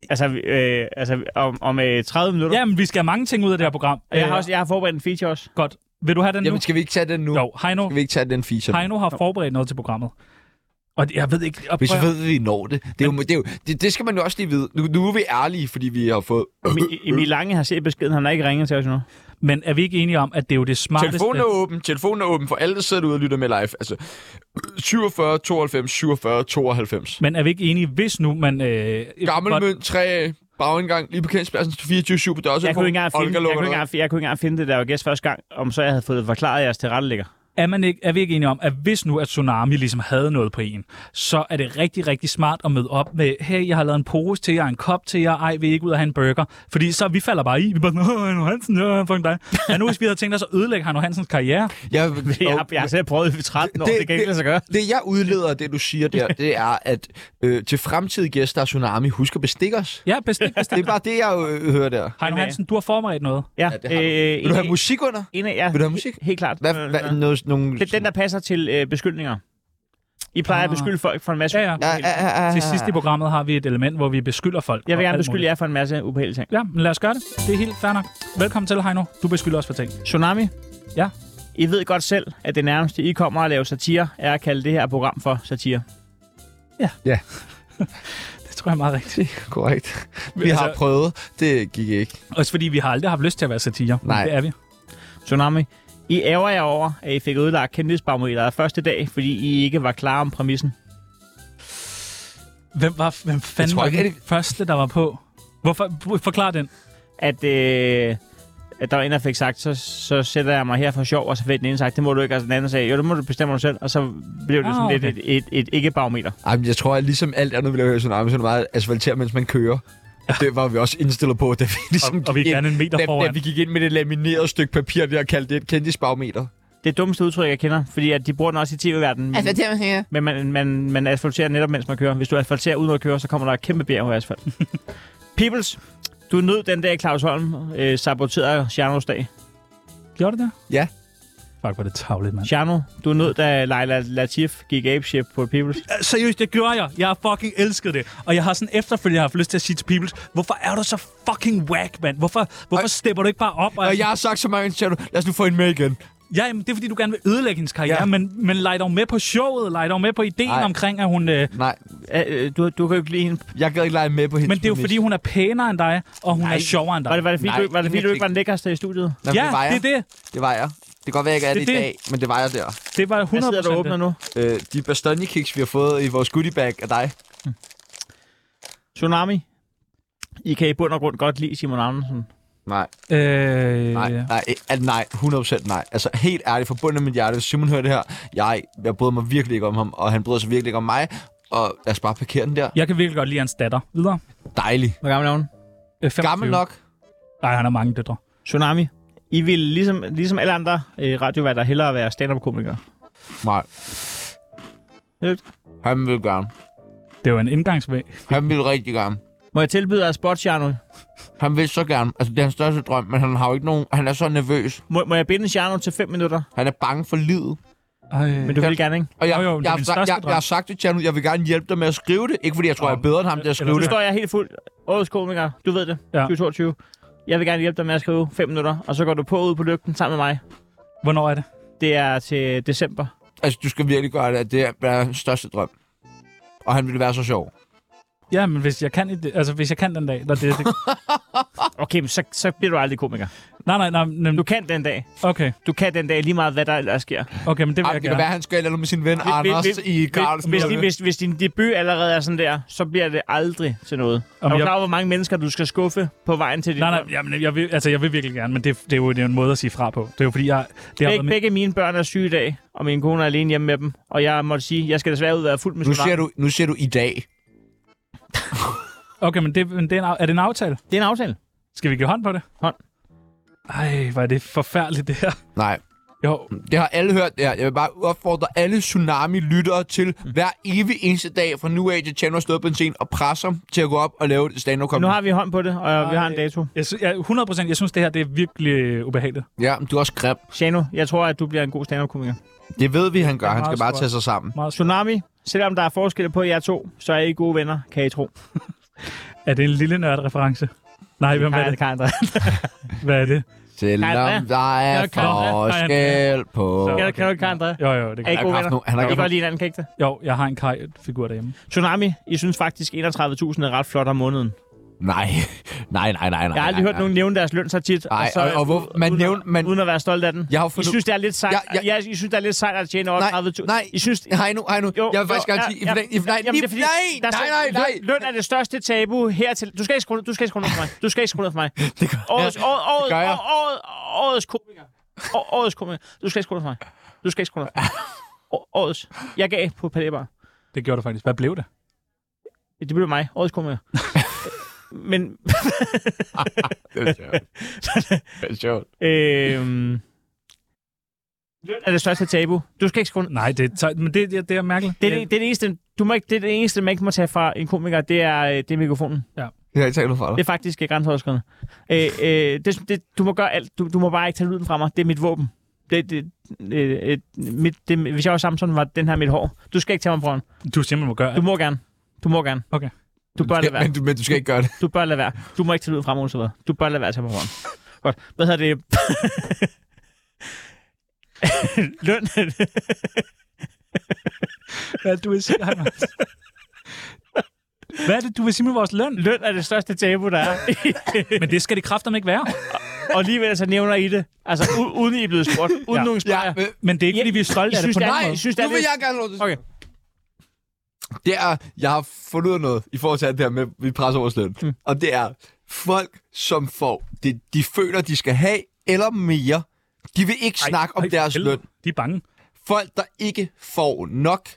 C: Altså, vi- øh, altså om, om øh, 30 minutter.
B: Jamen, vi skal have mange ting ud af det her program. Øh,
C: Og Jeg har, også, jeg har forberedt en feature også.
B: Godt. Vil du have den nu?
A: Jamen, skal vi ikke tage den nu?
B: Jo, Heino,
A: Skal vi ikke tage den feature? nu?
B: Heino har forberedt noget til programmet. Og jeg ved ikke... Og
A: Hvis
B: prøv-
A: vi ved, at vi når det. Det, er jo, det, er jo, det, det skal man jo også lige vide. Nu, nu er vi ærlige, fordi vi har fået...
C: Mi- Emil Lange har set beskeden, han har ikke ringet til os endnu.
B: Men er vi ikke enige om, at det er jo det smarteste...
A: Telefonen er åben. Telefonen er åben for alle, der sidder derude og lytter med live. Altså, 47, 92, 47, 92.
B: Men er vi ikke enige, hvis nu man... Øh,
A: Gammel
B: godt-
A: mønt, 3 bagindgang, lige på kendspladsen, 24-7 på dørsen.
C: Jeg kunne, ikke engang finde, jeg, kunne ikke engang, jeg kunne ikke engang finde det, der var gæst første gang, om så jeg havde fået forklaret jeres tilrettelægger.
B: er, man ikke, er vi ikke enige om, at hvis nu at Tsunami ligesom havde noget på en, så er det rigtig, rigtig smart at møde op med, hey, jeg har lavet en pose til jer, en kop til jer, ej, vi er ikke ud at have en burger. Fordi så vi falder bare i, vi er bare sådan, "Åh, Heino Hansen, ja, fuck dig. Men nu hvis vi havde tænkt os at ødelægge Heino Hansens karriere,
A: Jeg,
C: <laughs> Jeg, har, jeg har selv prøvet i 13 år, det, det kan ikke lade sig gøre.
A: Det, jeg udleder af det, du siger der, det er, at øh, til fremtidige gæster af Tsunami, husk at bestikke os.
B: ja, bestik, bestik.
A: Det er bare det, jeg øh, hører der.
B: Heino Hansen, du har forberedt noget.
C: Ja,
A: det har du.
C: øh,
A: Vil du have
C: en,
A: musik under?
C: en af jer.
A: Vil du have musik?
C: Helt klart.
A: Hvad, hvad, noget, nogle...
C: Øh, Det er den, der passer til øh, beskyldninger. I plejer at beskyldne folk for en masse...
B: Ah. Ja, ja.
A: Ja, ja, ja, ja,
B: Til
A: ja.
B: sidst i programmet har vi et element, hvor vi beskylder folk.
C: Jeg
B: og
C: vil gerne
B: alt
C: beskylde
B: muligt.
C: jer for en masse ubehagelige ting.
B: Ja, men lad os gøre det. Det er helt fair nok. Velkommen til, Heino. Du beskylder os for ting.
C: Tsunami?
B: Ja.
C: I ved godt selv, at det nærmeste, I kommer at lave satire, er at kalde det her program for satire.
B: Det tror jeg er meget rigtigt.
A: Korrekt. Vi har
B: Altså-
A: prøvet. Det gik ikke.
B: Også fordi vi har aldrig haft lyst til at være satire. Men
A: Nej.
B: Det er vi.
C: Tsunami? I ærger jer over, at I fik ødelagt kendtisbarometeret første dag, fordi I ikke var klar om præmissen.
B: Hvem, var, hvem fanden
A: tror
B: var
A: ikke,
B: den første, der var på? Hvorfor? Forklar den.
C: At, øh, at der var en, der fik sagt, så, så sætter jeg mig her for sjov, og så fik den ene sagt, det må du ikke, og så den anden sagde, jo, det må du bestemme dig selv, og så blev det
B: Ah,
C: ah, sådan okay.
B: okay.
C: lidt et, et, et ikke-barometer.
A: Ej, men jeg tror, at ligesom alt andet, vi laver i Tsunami, så er det meget asfalteret, mens man kører. Det var vi også indstillet på, da vi ligesom
B: Og vi er
A: gik
B: gerne en meter
A: da, da
B: foran.
A: vi gik ind med det laminerede stykke papir der og kaldte det et kendisbagmeter.
C: Det dummeste udtryk, jeg kender, fordi at de bruger den også i tv-verdenen. Altså, det her. Men man, man, man asfalterer netop, mens man kører. Hvis du asfalterer uden at køre, så kommer der et kæmpe bjerg af asfalt. Peoples, du nød den dag, Claus Holm øh, saboterede Tjernos dag.
B: Gjorde det der?
A: Ja.
B: Fuck, var det tavligt, mand.
C: Tjerno, du nød, da Leila Latif gik abeship på Peoples.
B: Seriøst, det gjorde jeg. Jeg har fucking elsket det. Og jeg har sådan efterfølgende haft lyst til at sige til Peoples, hvorfor er du så fucking whack, mand? Hvorfor, hvorfor
A: Og-
B: stepper du ikke bare op?
A: Og jeg har sagt så mange gange, til Tjerno, lad os nu få en med igen.
B: Ja, jamen, det er fordi, du gerne vil ødelægge hendes karriere, ja.
A: Ja.
B: men, men lej dog med på showet, lej dog med på ideen
A: Nej.
B: omkring, at hun... Øh,
A: Nej,
C: Øh, du, du kan jo ikke lide hende.
A: jeg gad ikke lege med på hendes
B: men det er jo
A: præmis.
B: fordi, hun er pænere end dig, og hun er
A: Nej.
B: sjovere end dig.
C: Var det, var det fordi,
A: Nej,
C: du, var det, fordi du ikke var den lækkerste i studiet?
A: Nå, men
B: ja,
A: det, var jeg.
B: det er det.
A: det var jeg. Det kan godt være, jeg ikke er
B: Det er
A: det, i
B: det.
A: dag, men det var jeg der.
B: Det var 100%
C: Hvad sidder du og åbner
B: det.
C: nu?
A: Øh, de bastogne kiks, vi har fået i vores goodie bag af dig.
C: Tsunami. I kan i bund og grund godt lide Simon Andersen.
A: Nej,
B: Øh,
A: nej,
B: ja.
A: nej, at nej, 100% nej. Altså helt ærligt, forbundet med mit hjerte, hvis Simon hører det her, jeg, jeg bryder mig virkelig ikke om ham, og han bryder sig virkelig ikke om mig, og lad os bare parkere den der.
B: Jeg kan virkelig godt lide hans datter. Videre.
A: Dejlig.
C: Hvor gammel er hun?
B: Øh, 25.
A: Gammel nok.
B: Nej, han har mange døtre.
C: Tsunami. I ville ligesom, ligesom alle andre øh, radioværter hellere være stand-up-komikere.
A: Nej.
C: Lidt.
A: Han vil gerne.
B: Det var en indgangsvej.
A: Han vil rigtig gerne.
C: Må jeg tilbyde dig et spot, Tjerno?
A: Han vil så gerne. Altså, det er hans største drøm, men han har jo ikke nogen... Han er så nervøs.
C: Må, må jeg binde Tjerno til 5 minutter?
A: Han er bange for livet.
B: Ej.
C: Men du vil gerne, ikke?
A: Og jeg,
B: Jo, jo, det
A: jeg, jeg,
B: er min
A: jeg,
B: største
A: jeg, jeg har sagt det til ham, jeg vil gerne hjælpe dig med at skrive det. Ikke fordi jeg tror, jeg er bedre end ham til at skrive
C: Nu
A: det.
C: står jeg helt fuldt. Årets komiker, du ved det.
B: Ja.
C: Ja. 2022. Jeg vil gerne hjælpe dig med at skrive 5 minutter, og så går du på ud på lygten sammen med mig.
B: Hvornår er det?
C: Det er til december.
A: Altså, du skal virkelig gøre det. Det er hans største drøm. Og han ville være så sjov.
B: Ja, men hvis jeg kan, i det- altså, hvis jeg kan den dag, når det, det
C: Okay, men så, så bliver du aldrig komiker.
B: Nej, nej, nej. Nem,
C: Du kan den dag.
B: okay,
C: Du kan den dag lige meget, hvad der ellers sker.
B: okay, men det vil
A: Ej, det
B: jeg
A: kan
B: gerne.
A: Ah, være, han skal eller med sin ven
C: vi-
A: Anders
C: vi-
A: i
C: Hvis,
A: Carlsen.
C: hvis, din- hvis, hvis din debut allerede er sådan der, så bliver det aldrig til noget.
B: Om
C: Om er du
B: jeg-
C: klar over, hvor mange mennesker, du skal skuffe på vejen til din
B: Nej,
C: drøm?
B: nej, jamen, jeg, vil, altså, jeg vil virkelig gerne, men det, det, er jo, det er jo en måde at sige fra på. Det er jo fordi, jeg... Det har været
C: Beg,
B: min-
C: begge mine børn er syge i dag, og min kone er alene hjemme med dem. Og jeg måtte sige, jeg skal desværre ud og være fuld med
A: nu, siger du, nu siger du i dag.
B: Okay, men, det, men det er, en, af- er det en aftale?
C: Det er en aftale.
B: Skal vi give hånd på det?
C: Hånd.
B: Ej, hvor er det forfærdeligt, det her.
A: Nej,
B: Jo,
A: det har alle hørt der. Jeg vil bare opfordre alle Tsunami-lyttere til hver evig eneste dag fra nu af til Chandler stået på en scene og presse ham til at gå op og lave et stand up
C: Nu har vi hånd på det, og vi har en
B: Ej.
C: dato.
B: jeg, sy- jeg, 100 jeg synes, det her det er virkelig øh, ubehageligt.
A: Ja, men du er også grim.
C: Shano, jeg tror, at du bliver en god stand-up-komiker.
A: Det ved vi, han gør.
B: Det er
A: Han skal
B: meget
A: bare
B: svært.
A: tage sig sammen.
B: Meget sundt.
C: Tsunami, selvom der er forskel på jer to, så er I gode venner, kan I tro.
B: Er det en lille nørd-reference? Nej, hvem er det?
C: Kan
A: <laughs>
C: André.
B: Hvad er det?
A: Selvom
C: Kan
A: der er
C: Jeg kan det.
A: forskel på...
B: Så-
C: Kan du- kan du ikke André?
B: Jo, jo, det
C: Er I
B: kan.
A: ikke
C: gode
A: haft
C: venner?
A: nogen- han har ikke
C: I
A: haft-
C: kan godt lide hinanden, kan I ikke det?
B: Jo, jeg har en kaj-figur derhjemme.
C: Tsunami, I synes faktisk 31.000 er ret flot om måneden.
A: Nej, nej, nej, nej, nej.
C: Jeg har aldrig
A: nej,
C: hørt nogen nævne deres løn så tit.
A: Nej,
C: så, øh,
A: og, og hvor, man
C: uden, at-
A: nævner... Man,
C: uden at være stolt af den.
A: jeg har jo
C: I
A: fundet...
C: synes, det er lidt sejt,
A: Ja,
C: ja,
A: ja.
C: ja. I synes, det er lidt sejt at tjene over
A: Nej,
C: 30.000.
A: nej.
C: I synes,
A: Hej nu, hej nu.
C: Jo,
A: jeg vil faktisk
C: jo,
A: gerne
C: ja,
A: sige...
C: ja.
A: Ja, ja, nej,
C: Jamen, det er fordi, der
A: nej,
C: er så-
A: nej, nej, nej.
C: løn- Løn er det største tabu hertil. Du skal ikke skrue, du skal ikke skrue ned for mig. Du skal ikke skrue ned for mig.
A: <laughs> Det gør
C: Årets,
A: jeg.
C: år, årets,
A: gør jeg.
C: år, årets, årets komiker. Å- Årets komiker. Du skal ikke skrue ned for mig. Du skal ikke skrue ned for mig.
A: <laughs>
C: Å- Årets. Jeg gav på Palébar.
B: Det gjorde du faktisk. Hvad blev det?
C: Det blev mig. Årets
A: <laughs>
C: komiker. Men,
A: Det er sjovt. Det er sjovt.
C: øhm, løn er det største tabu. Du skal ikke skrue ned.
B: Nej, det er, tøj- men det, det, det er mærkeligt.
C: Det er det, det, er det eneste, du må ikke, det er det eneste, man ikke må tage fra en komiker, det er, øh, det er mikrofonen.
A: Jeg har ikke talt fra
C: Det
A: dig.
C: er faktisk øh, grænseoverskridende. Øh, øh, det, det, du må gøre alt. Du, du må bare ikke tage lyden fra mig. Det er mit våben. Det, det, øh, øh, mit, det, hvis jeg var Samson, var den her mit hår. Du skal ikke tage mig på den.
B: Du siger, man må gøre
C: Du
B: alt.
C: må gerne. Du må gerne.
B: Okay.
C: Du bør lade
A: Ja,
C: være.
A: men, du, men du skal ikke gøre det.
C: Du bør lade være. Du må ikke tage lyden fra mig, uanset hvad. Du bør lade være at tage mig på den. Godt. Hvad hedder det? <laughs> Løn.
B: Hvad du vil <laughs> sige, Anders? Hvad er det, du vil sige med vores løn?
C: Løn er det største tabu, der
A: <laughs>
C: er.
B: Men det skal det kræfter ikke være.
C: Og alligevel så nævner I det. Altså, u- uden I er blevet spurgt. Uden
B: Ja.
C: ja. nogen
A: Ja,
C: spørger.
A: men,
B: Men det er ikke, fordi vi er stolte
C: I
B: af det
C: synes,
B: på
C: det er-
B: nogen
A: nej,
B: måde.
C: synes, der
A: nu
C: er
A: vil
C: lidt-
A: jeg gerne låne det.
C: Okay.
A: Det er, jeg har fundet ud af noget i forhold til alt det her med, at vi presser vores løn.
C: Hmm.
A: Mm. Og det er, folk, som får det, de føler, de skal have, eller mere, de vil ikke
B: Ej,
A: snakke om
B: ej,
A: deres
B: helvede.
A: løn.
B: De er bange.
A: Folk, der ikke får nok,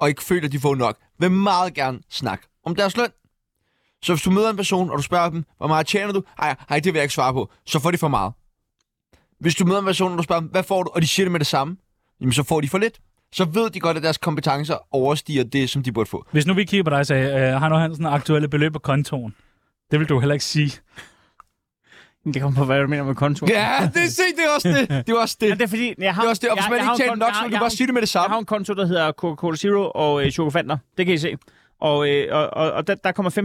A: og ikke føler, de får nok, vil meget gerne snakke om deres løn. Så hvis du møder en person, og du spørger dem, hvor meget tjener du? Ej, ej, det vil jeg ikke svare på. Så får de for meget. Hvis du møder en person, og du spørger dem, hvad får du? Og de siger det med det samme. Jamen, så får de for lidt. Så ved de godt, at deres kompetencer overstiger det, som de burde få.
B: Hvis nu vi kigger på dig og sagde, øh, Hanno Hansen aktuelle beløb på kontoen. Det vil du heller ikke sige.
C: Det kommer på, hvad du mener med kontor.
A: Ja, det er, se, det er også det. Det er også det.
C: Men det er fordi, jeg har,
A: Det er også det. Og hvis
C: jeg-
A: man
C: jeg
A: ikke
C: har en
A: tjener
C: kon-
A: nok,
C: jeg
A: så
C: har-
A: kan
C: jeg
A: du
C: har
A: bare sige det med det
C: Jeg har
A: samme.
C: en konto, der hedder Coca-Cola Zero og øh, Chocofanter. Det kan I se. Og, øh, og, og, og der, der kommer 1.500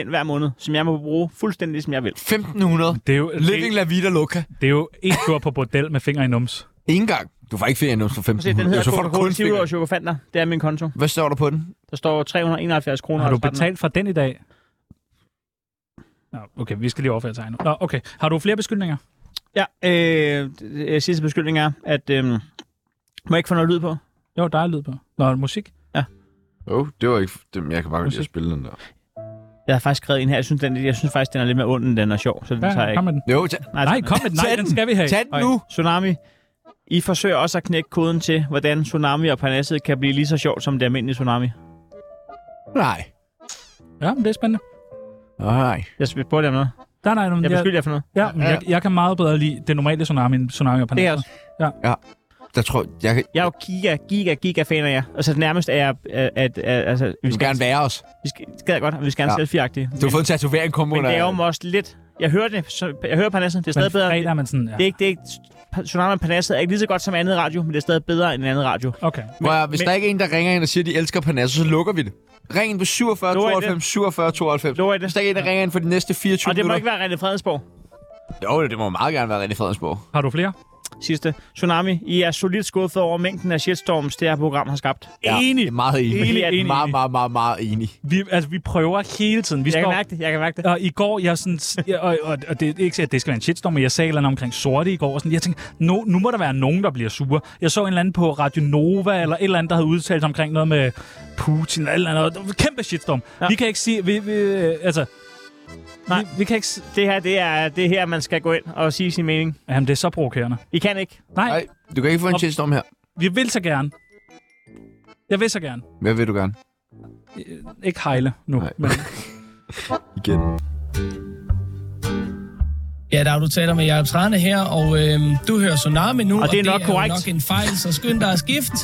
C: ind hver måned, som jeg må bruge fuldstændig, som jeg vil.
A: 1500.
B: Det er jo,
A: Living
B: det,
A: la vida loca.
B: det er jo en tur på bordel med fingre i <laughs> nums.
A: Ingen gang. Du får ikke ferie nu for
C: Se, den
A: 1500.
C: hedder
A: Jo, så får du
C: Coca-Cola
A: kun
C: Zero
A: ferie.
C: og Chocofanter. Det er min konto.
A: Hvad står der på den?
C: Der står 371 kroner.
B: Har du
C: og 13.
B: betalt for den i dag? Nå, okay, vi skal lige overføre til Ejno. Nå, okay. Har du flere beskyldninger?
C: Ja, øh, d- øh, sidste beskyldning er, at øh, må jeg ikke få noget lyd på?
B: Jo, der er lyd på. Nå, musik.
E: Jo, oh, det var ikke... Det, jeg kan bare
B: lide at
E: spille den der.
C: Jeg har faktisk skrevet en her. Jeg synes, den, jeg synes faktisk, den er lidt mere ond, end den er sjov. Så den tager jeg
B: Ja, kom
C: ikke. Altså,
B: med den.
A: Jo, tag,
B: Nej,
C: den er-
B: kom med den. Nej,
A: Tag
B: den
A: den.
B: skal vi have.
A: tag den nu.
C: Okay. Tsunami, I forsøger også at knække koden til, hvordan Tsunami og Parnasset kan blive lige så sjovt som det almindelige Tsunami.
A: Nej.
B: Ja, men det er spændende.
A: Nej.
C: Jeg spurgte jer om noget.
B: Nej, nej, men
C: Jeg
B: jeg,
C: beskylder jer for noget.
B: ja, men jeg, jeg, kan meget bedre lide det normale tsunami end tsunami og
C: Det er
B: panache.
C: også.
A: Der tror jeg, jeg kan,
C: Jeg er jo giga, giga, giga fan af jer. Altså nærmest er jeg... At, at, at, altså,
A: du
C: vi
A: vil
C: skal,
A: gerne være os.
C: vi skal, det skal jeg godt, og vi skal gerne
A: Ja.
C: ja. selfie-agtige.
A: Du har fået en tatovering, kom
C: Men
A: under.
C: det er jo også lidt... Jeg hører det, så, jeg hører Parnasset, det er
B: Men
C: stadig bedre.
B: fredag er man sådan, ja.
C: Det er ikke, det er ikke, Tsunami og Parnasset er ikke lige så godt som andet radio, men det er stadig bedre end andet radio.
B: Okay.
A: Prøv, at høre, hvis
C: men-
A: der ikke er en, der ringer ind og siger, at de elsker Parnasse, så lukker vi det. Ring ind på 47
C: Lover I det?
A: 92 47 92.
C: Lover I det?
A: Hvis der ikke er en, der ringer ind for de næste 24
C: Og det må
A: minutter.
C: ikke være René Fredensborg.
A: Jo, det må meget gerne være René Fredensborg.
B: Har du flere?
C: sidste. Tsunami, I er solidt skuffet over mængden af shitstorms, det her program har skabt.
B: Enig.
A: er meget enig.
B: Enig,
A: Meget,
B: enig,
A: meget,
B: enig.
A: meget, meget, meget enig.
B: Vi, altså, vi prøver hele tiden. Vi
C: Jeg kan
B: står,
C: mærke det, jeg kan mærke det.
B: og i går, jeg sådan, jeg, og, og, og det er ikke, at det skal være en shitstorm, men jeg sagde et eller andet omkring sorte i går, og sådan, jeg tænkte, no, nu må der være nogen, der bliver sure. Jeg så en eller anden på Radio Nova, eller et eller andet, der havde udtalt sig omkring noget med Putin, eller et eller andet, Det var en kæmpe shitstorm.
C: Ja.
B: Ja. Vi kan ikke sige, vi, vi, øh, altså,
C: Nej.
B: Nej. Vi, vi, kan ikke s-
C: Det her, det er det er her, man skal gå ind og sige sin mening.
B: Jamen, det er så provokerende.
C: I kan ikke.
B: Nej,
A: Nej,
B: Nej,
A: du kan ikke få en
B: Op.
A: shitstorm her.
B: vi vil så gerne. Jeg vil så gerne.
A: Hvad vil du gerne?
B: Øh, Ikke hejle nu.
A: Nej. <laughs>
B: Men,
A: Igen.
G: Ja, der er du taler med Jacob Trane her, og øh, du hører Tsunami nu,
C: Og det er nok
G: det
C: korrekt.
G: er jo nok en fejl, så skynd dig at skifte.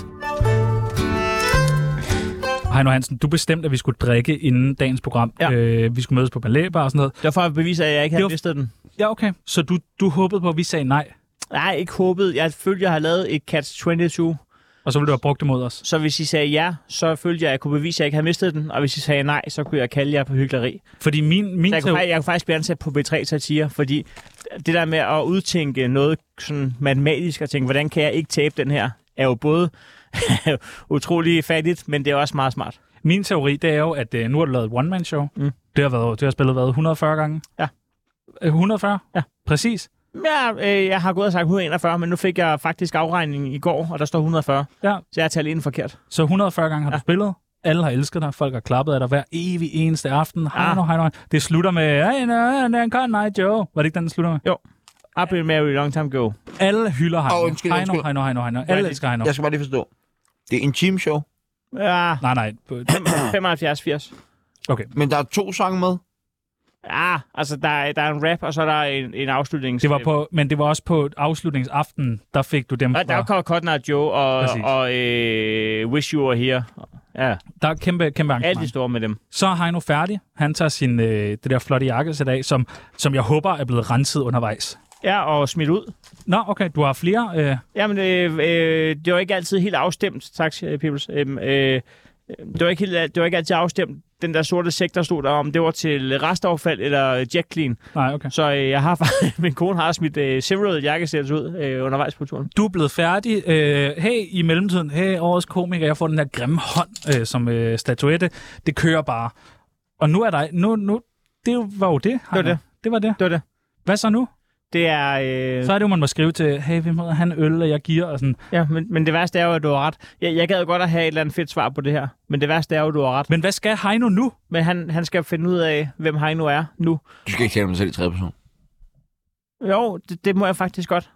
B: Heino Hansen, du bestemte, at vi skulle drikke inden dagens program.
C: Ja.
B: Øh, vi skulle mødes på balletbar og sådan noget.
C: Det var for at bevise, at jeg ikke
B: Det
C: havde
B: var-
C: mistet den.
B: Ja, okay. Så du, du håbede på, at vi sagde nej,
C: Nej, ikke håbet. Jeg følte, jeg har lavet et catch 22.
B: og så ville du have brugt det mod os.
C: Så hvis I sagde ja, så følte jeg, at jeg kunne bevise, at jeg ikke havde mistet den. Og hvis I sagde nej, så kunne jeg kalde jer på hykleri.
B: Fordi min, min
C: Så jeg, kunne,
B: teori...
C: fa- jeg kunne faktisk blive ansat på B3 Satire, fordi det der med at udtænke noget sådan matematisk og tænke, hvordan kan jeg ikke tabe den her, er jo både <laughs> utrolig fattigt, men det er også meget smart.
B: Min teori, det er jo, at øh, nu har du lavet et one-man-show.
C: Mm.
B: Det, har været, det har spillet været 140 gange.
C: Ja.
B: Øh, 140?
C: Ja.
B: Præcis.
C: Ja, øh, jeg har gået og sagt 141, men nu fik jeg faktisk afregningen i går, og der står 140.
B: Ja.
C: Så jeg har talt inden forkert.
B: Så 140 gange har ja.
C: Ja.
B: du spillet. Alle har elsket dig. Folk har klappet af dig hver evig eneste aften. Hej
C: Ah.
B: nu, hej nu. Det slutter med... Hey, no, no, no, no, Joe. Var det ikke den, den slutter med?
C: I've been married a long time ago.
B: Alle hylder Heino.
A: Åh, undskyld,
B: Heino,
A: undskyld.
B: Heino, Heino, Heino.
C: Nej,
B: Alle
C: det-
B: elsker Heino.
A: Jeg skal bare lige forstå. Det er en teamshow,
C: Ja,
B: Nej, nej. på-
C: <coughs> 75-80.
A: men der er to sange med.
C: Ja, altså der er, der er en rap, og så er der en, en afslutning.
B: Det var på, men det var også på afslutningsaften, der fik du dem
C: Ja, der
B: fra.
C: var Cotton Eye Joe og,
B: Præcis.
C: og øh, Wish You Were Here. Ja,
B: Der er kæmpe, kæmpe
C: alt det
B: arrangement.
C: store med dem.
B: Så er Heino færdig. Han tager sin, øh, det der flotte jakkesæt af, som, som jeg håber er blevet renset undervejs.
C: Ja, og smidt ud.
B: Nå, okay, du har flere. Øh,
C: Jamen, øh, øh, det var ikke altid helt afstemt, tak, øh, Peoples. Øhm, øh, det, var ikke helt, det var ikke altid afstemt. Den der sorte sæk, der stod der om, det var til restaffald eller jet clean.
B: nej, okay.
C: Så øh, jeg har faktisk- <laughs> min kone har smidt øh, Severed jakkesæt ud øh, undervejs på turen.
B: Du er blevet færdig. Øh, hey, i mellemtiden, hey, årets komiker, jeg får den der grimme hånd øh, som øh, statuette. Det kører bare. Og nu er der... Nu, nu, det var jo det, Heino.
C: det.
B: Det var det.
C: Det var det.
B: Hvad så nu?
C: Det er... Øh,
B: Så er det jo, man må skrive til, hey, hvem hedder han øl, og jeg giver, og sådan.
C: ja, men, men det værste er jo, at du har ret. Jeg, jeg gad jo godt at have et eller andet fedt svar på det her. Men det værste er jo, at du har ret.
B: Men hvad skal Heino nu?
C: Men han, han skal finde ud af, hvem han nu er nu.
A: Du skal ikke tale om dig selv i tredje person.
C: Jo, det, det må jeg faktisk godt.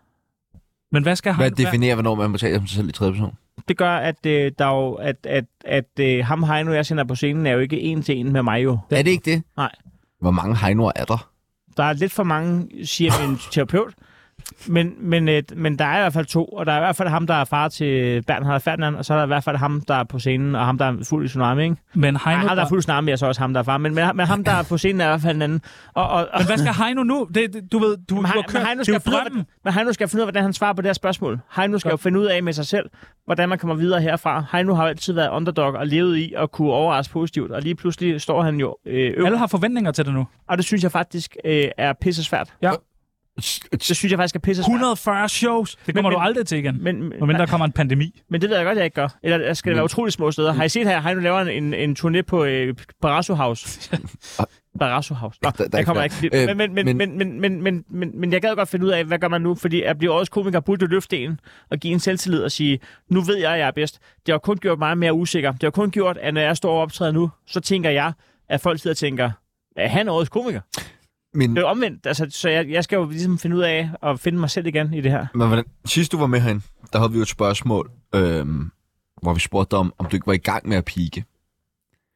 B: Men hvad skal
A: Hvad
B: Heino...
A: definerer, hvornår man må tale om sig selv i tredje person?
C: Det gør, at, øh, der jo, at, at, at øh, ham Heino, jeg sender på scenen, er jo ikke en til en med mig jo.
A: Er det ikke det?
C: Nej.
A: Hvor mange hegnoer er der?
C: Der er lidt for mange, siger min
B: <laughs>
C: terapeut. Men, men, øh, men der er i hvert fald to, og der er i hvert fald ham, der er far til Bernhard Ferdinand, og så er der i hvert fald ham, der er på scenen, og ham, der er fuld i tsunami, ikke?
B: Men
C: Ej,
B: Heino...
C: ham, der
B: der-
C: er fuld i tsunami, er så også ham, der er far, men, men, men ham, der er på scenen, er i hvert fald en anden. Og, og, og,
B: Men hvad skal Heino nu? Det, det, du ved, du, du
C: Men
B: har
C: han, men
B: kørt.
C: Heino
B: Det er jo
C: skal, finde ud af,
B: drømmen.
C: hvordan- men Heino skal finde ud af, hvordan han svarer på det her spørgsmål. Heino skal
B: Ja.
C: jo finde ud af med sig selv, hvordan man kommer videre herfra. Heino har jo altid været underdog og levet i at kunne overraske positivt, og lige pludselig står han jo øh, øv.
B: Alle har forventninger til det nu.
C: Og det synes jeg faktisk øh, er pisse svært.
B: Ja.
C: Det synes jeg faktisk er pisse svært.
B: 140 shows. Det kommer
C: men-
B: du aldrig til igen.
C: Men, men,
B: Men der kommer en pandemi.
C: men det ved jeg godt, jeg ikke gør. Eller der skal det være utrolig små steder. Har I set her, Heino laver en, en turné på øh, Barrasso
A: <laughs>
C: House? Barrasso House. Nå,
A: Ah. Der- der er
C: der,
A: ikke
C: kommer jeg
A: flere.
C: ikke.
A: Øh,
C: til. Men, men, men, men, men, men, men, men, men jeg gad godt finde ud af, hvad gør man nu? Fordi at blive årets komiker burde jo løfte en og give en selvtillid og sige, nu ved jeg, at jeg er bedst. Det har kun gjort mig mere usikker. Det har kun gjort, at når jeg står og optræder nu, så tænker jeg, at folk sidder og tænker, er han årets komiker?
A: Men,
C: Det er jo omvendt. Altså, så jeg, jeg skal jo ligesom finde ud af at finde mig selv igen i det her.
A: men hvordan, sidst du var med herinde, der havde vi jo et spørgsmål, øhm, hvor vi spurgte dig om, om du ikke var i gang med at pike.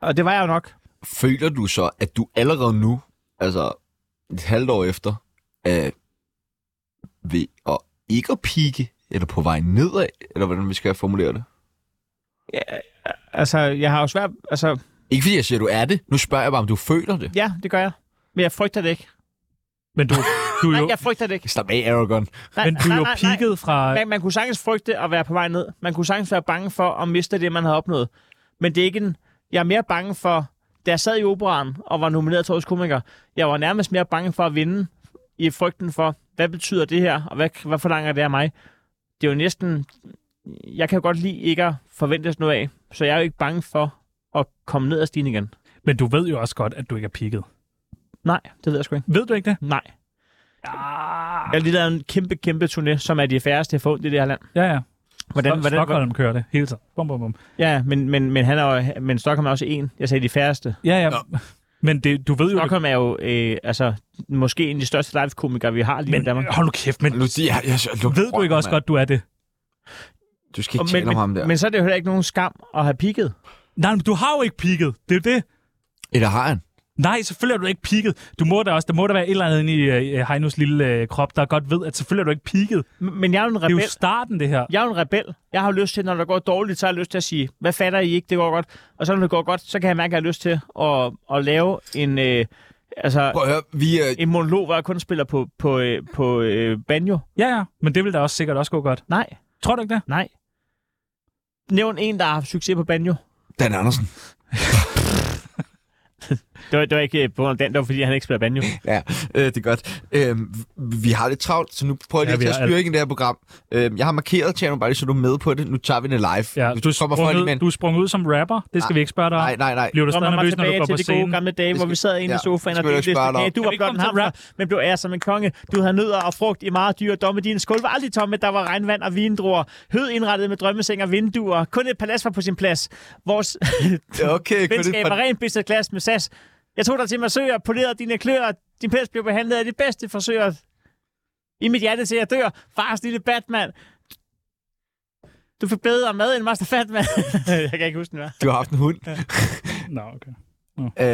C: Og det var jeg jo nok.
A: Føler du så, at du allerede nu, altså et halvt år efter, er ved at ikke at pike, eller på vej nedad, eller hvordan vi skal formulere det?
C: Altså, jeg har jo svært... Altså,
A: Ikke fordi jeg siger, at du er det. Nu spørger jeg bare, om du føler det.
C: ja, det gør jeg. Men jeg frygter det ikke.
B: Men du, du er
C: Nej,
B: jo,
C: jeg frygter det ikke.
A: Slap af, Aragon.
C: Nej,
B: men du er
C: nej,
B: jo
C: nej, nej.
B: peaked fra...
C: Man, man kunne sagtens frygte at være på vej ned. Man kunne sagtens være bange for at miste det, man havde opnået. Men det er ikke en... Jeg er mere bange for... Da jeg sad i operan og var nomineret til Årets Komiker, jeg var nærmest mere bange for at vinde i frygten for, hvad betyder det her, og hvad, hvad forlanger det af mig? Det er jo næsten... Jeg kan jo godt lide ikke at forvente noget af, så jeg er jo ikke bange for at komme ned ad stigen igen.
B: Men du ved jo også godt, at du ikke er pigget.
C: Nej, det ved jeg sgu ikke.
B: Ved du ikke det?
C: Nej. Jeg har lige lavet en kæmpe, kæmpe turné, som er de færreste, jeg får ondt i det her land.
B: Ja, ja.
C: Hvordan, hvordan,
B: Stockholm kører det hele tiden. Bum, bum, bum.
C: Ja, men, men, men, han er jo, men Stockholm er også en. Jeg sagde de færreste.
B: Ja, ja. Men det, du ved jo...
C: Stockholm er jo øh, altså, måske en af de største live-komikere, vi har lige men, i Danmark.
B: Men hold nu kæft, men
A: Nu siger jeg, jeg, jeg,
B: ved du ikke også godt, du er det?
A: Du skal
C: Og
A: ikke tale
C: men,
A: om ham der.
C: men, men så er det jo heller ikke nogen skam at have pigget.
B: Nej, men du har jo ikke pigget. Det er jo det.
A: Eller har han?
B: Nej, selvfølgelig er du ikke pigget. Du må da også, der må da være et eller andet inde i øh, Heinos lille øh, krop, der godt ved, at selvfølgelig er du ikke pigget.
C: Men, men jeg er jo en
B: Det er
C: rebel.
B: jo starten, det her.
C: Jeg er jo en rebel. Jeg har jo lyst til, når det går dårligt, så har jeg lyst til at sige, hvad fatter I ikke, det går godt. Og så når det går godt, så kan jeg mærke, at jeg har lyst til at, at lave en, øh, altså,
A: Prøv at høre, vi, øh,
C: en monolog, hvor jeg kun spiller på, på, øh, på øh, banjo.
B: Ja, ja. Men det vil da også sikkert også gå godt.
C: Nej,
B: Tror du ikke det?
C: nej. Nævn en, der har haft succes på banjo.
A: Dan Andersen.
C: Det var, det var ikke øh, på grund af den, det var fordi, han ikke spiller banjo.
A: Ja, øh, det er godt. Øh, vi har lidt travlt, så nu prøver jeg
B: Ja,
A: lige
B: vi
A: at
B: har
A: styre det her program. Øh, jeg har markeret Tjerno bare lige, så du er med på det. Nu tager vi det live.
B: Ja,
A: Hvis
B: du er,
A: kommer folk
B: sprunget,
A: imellem.
B: du er sprunget ud som rapper. Det skal vi ikke spørge dig om.
A: Nej, nej, nej.
B: Bliver du
C: Drømmer
B: stadig nervøs,
C: mig
B: når du
C: tilbage
B: går på
C: til de gode
B: scenen?
C: gamle dage, hvor vi sad inde
A: ja,
C: i sofaen og
A: skal vi
C: delte
A: ikke spørge dig om.
C: Hey, du var
B: vi
C: blot
B: komme
C: en
B: til
C: hamster,
B: rap?
C: men blev æret som en konge. Du havde nødder og frugt i meget dyre domme. Din skuld var aldrig tomme. Der var regnvand og vindruer. Hød indrettet med drømmeseng og vinduer. Kun et palads var på sin plads. Vores <laughs>
A: Okay, kun
C: venskab var
A: det
C: ren business class med SAS. Jeg tog dig til massør, polerede dine klør. Din pels blev behandlet af de bedste forsøger. I mit hjerte til jeg dør. Fars lille Batman. Du fik bedre mad end Master Fatman. jeg kan ikke huske den, hvad.
A: Du har haft en hund.
B: Nå, okay.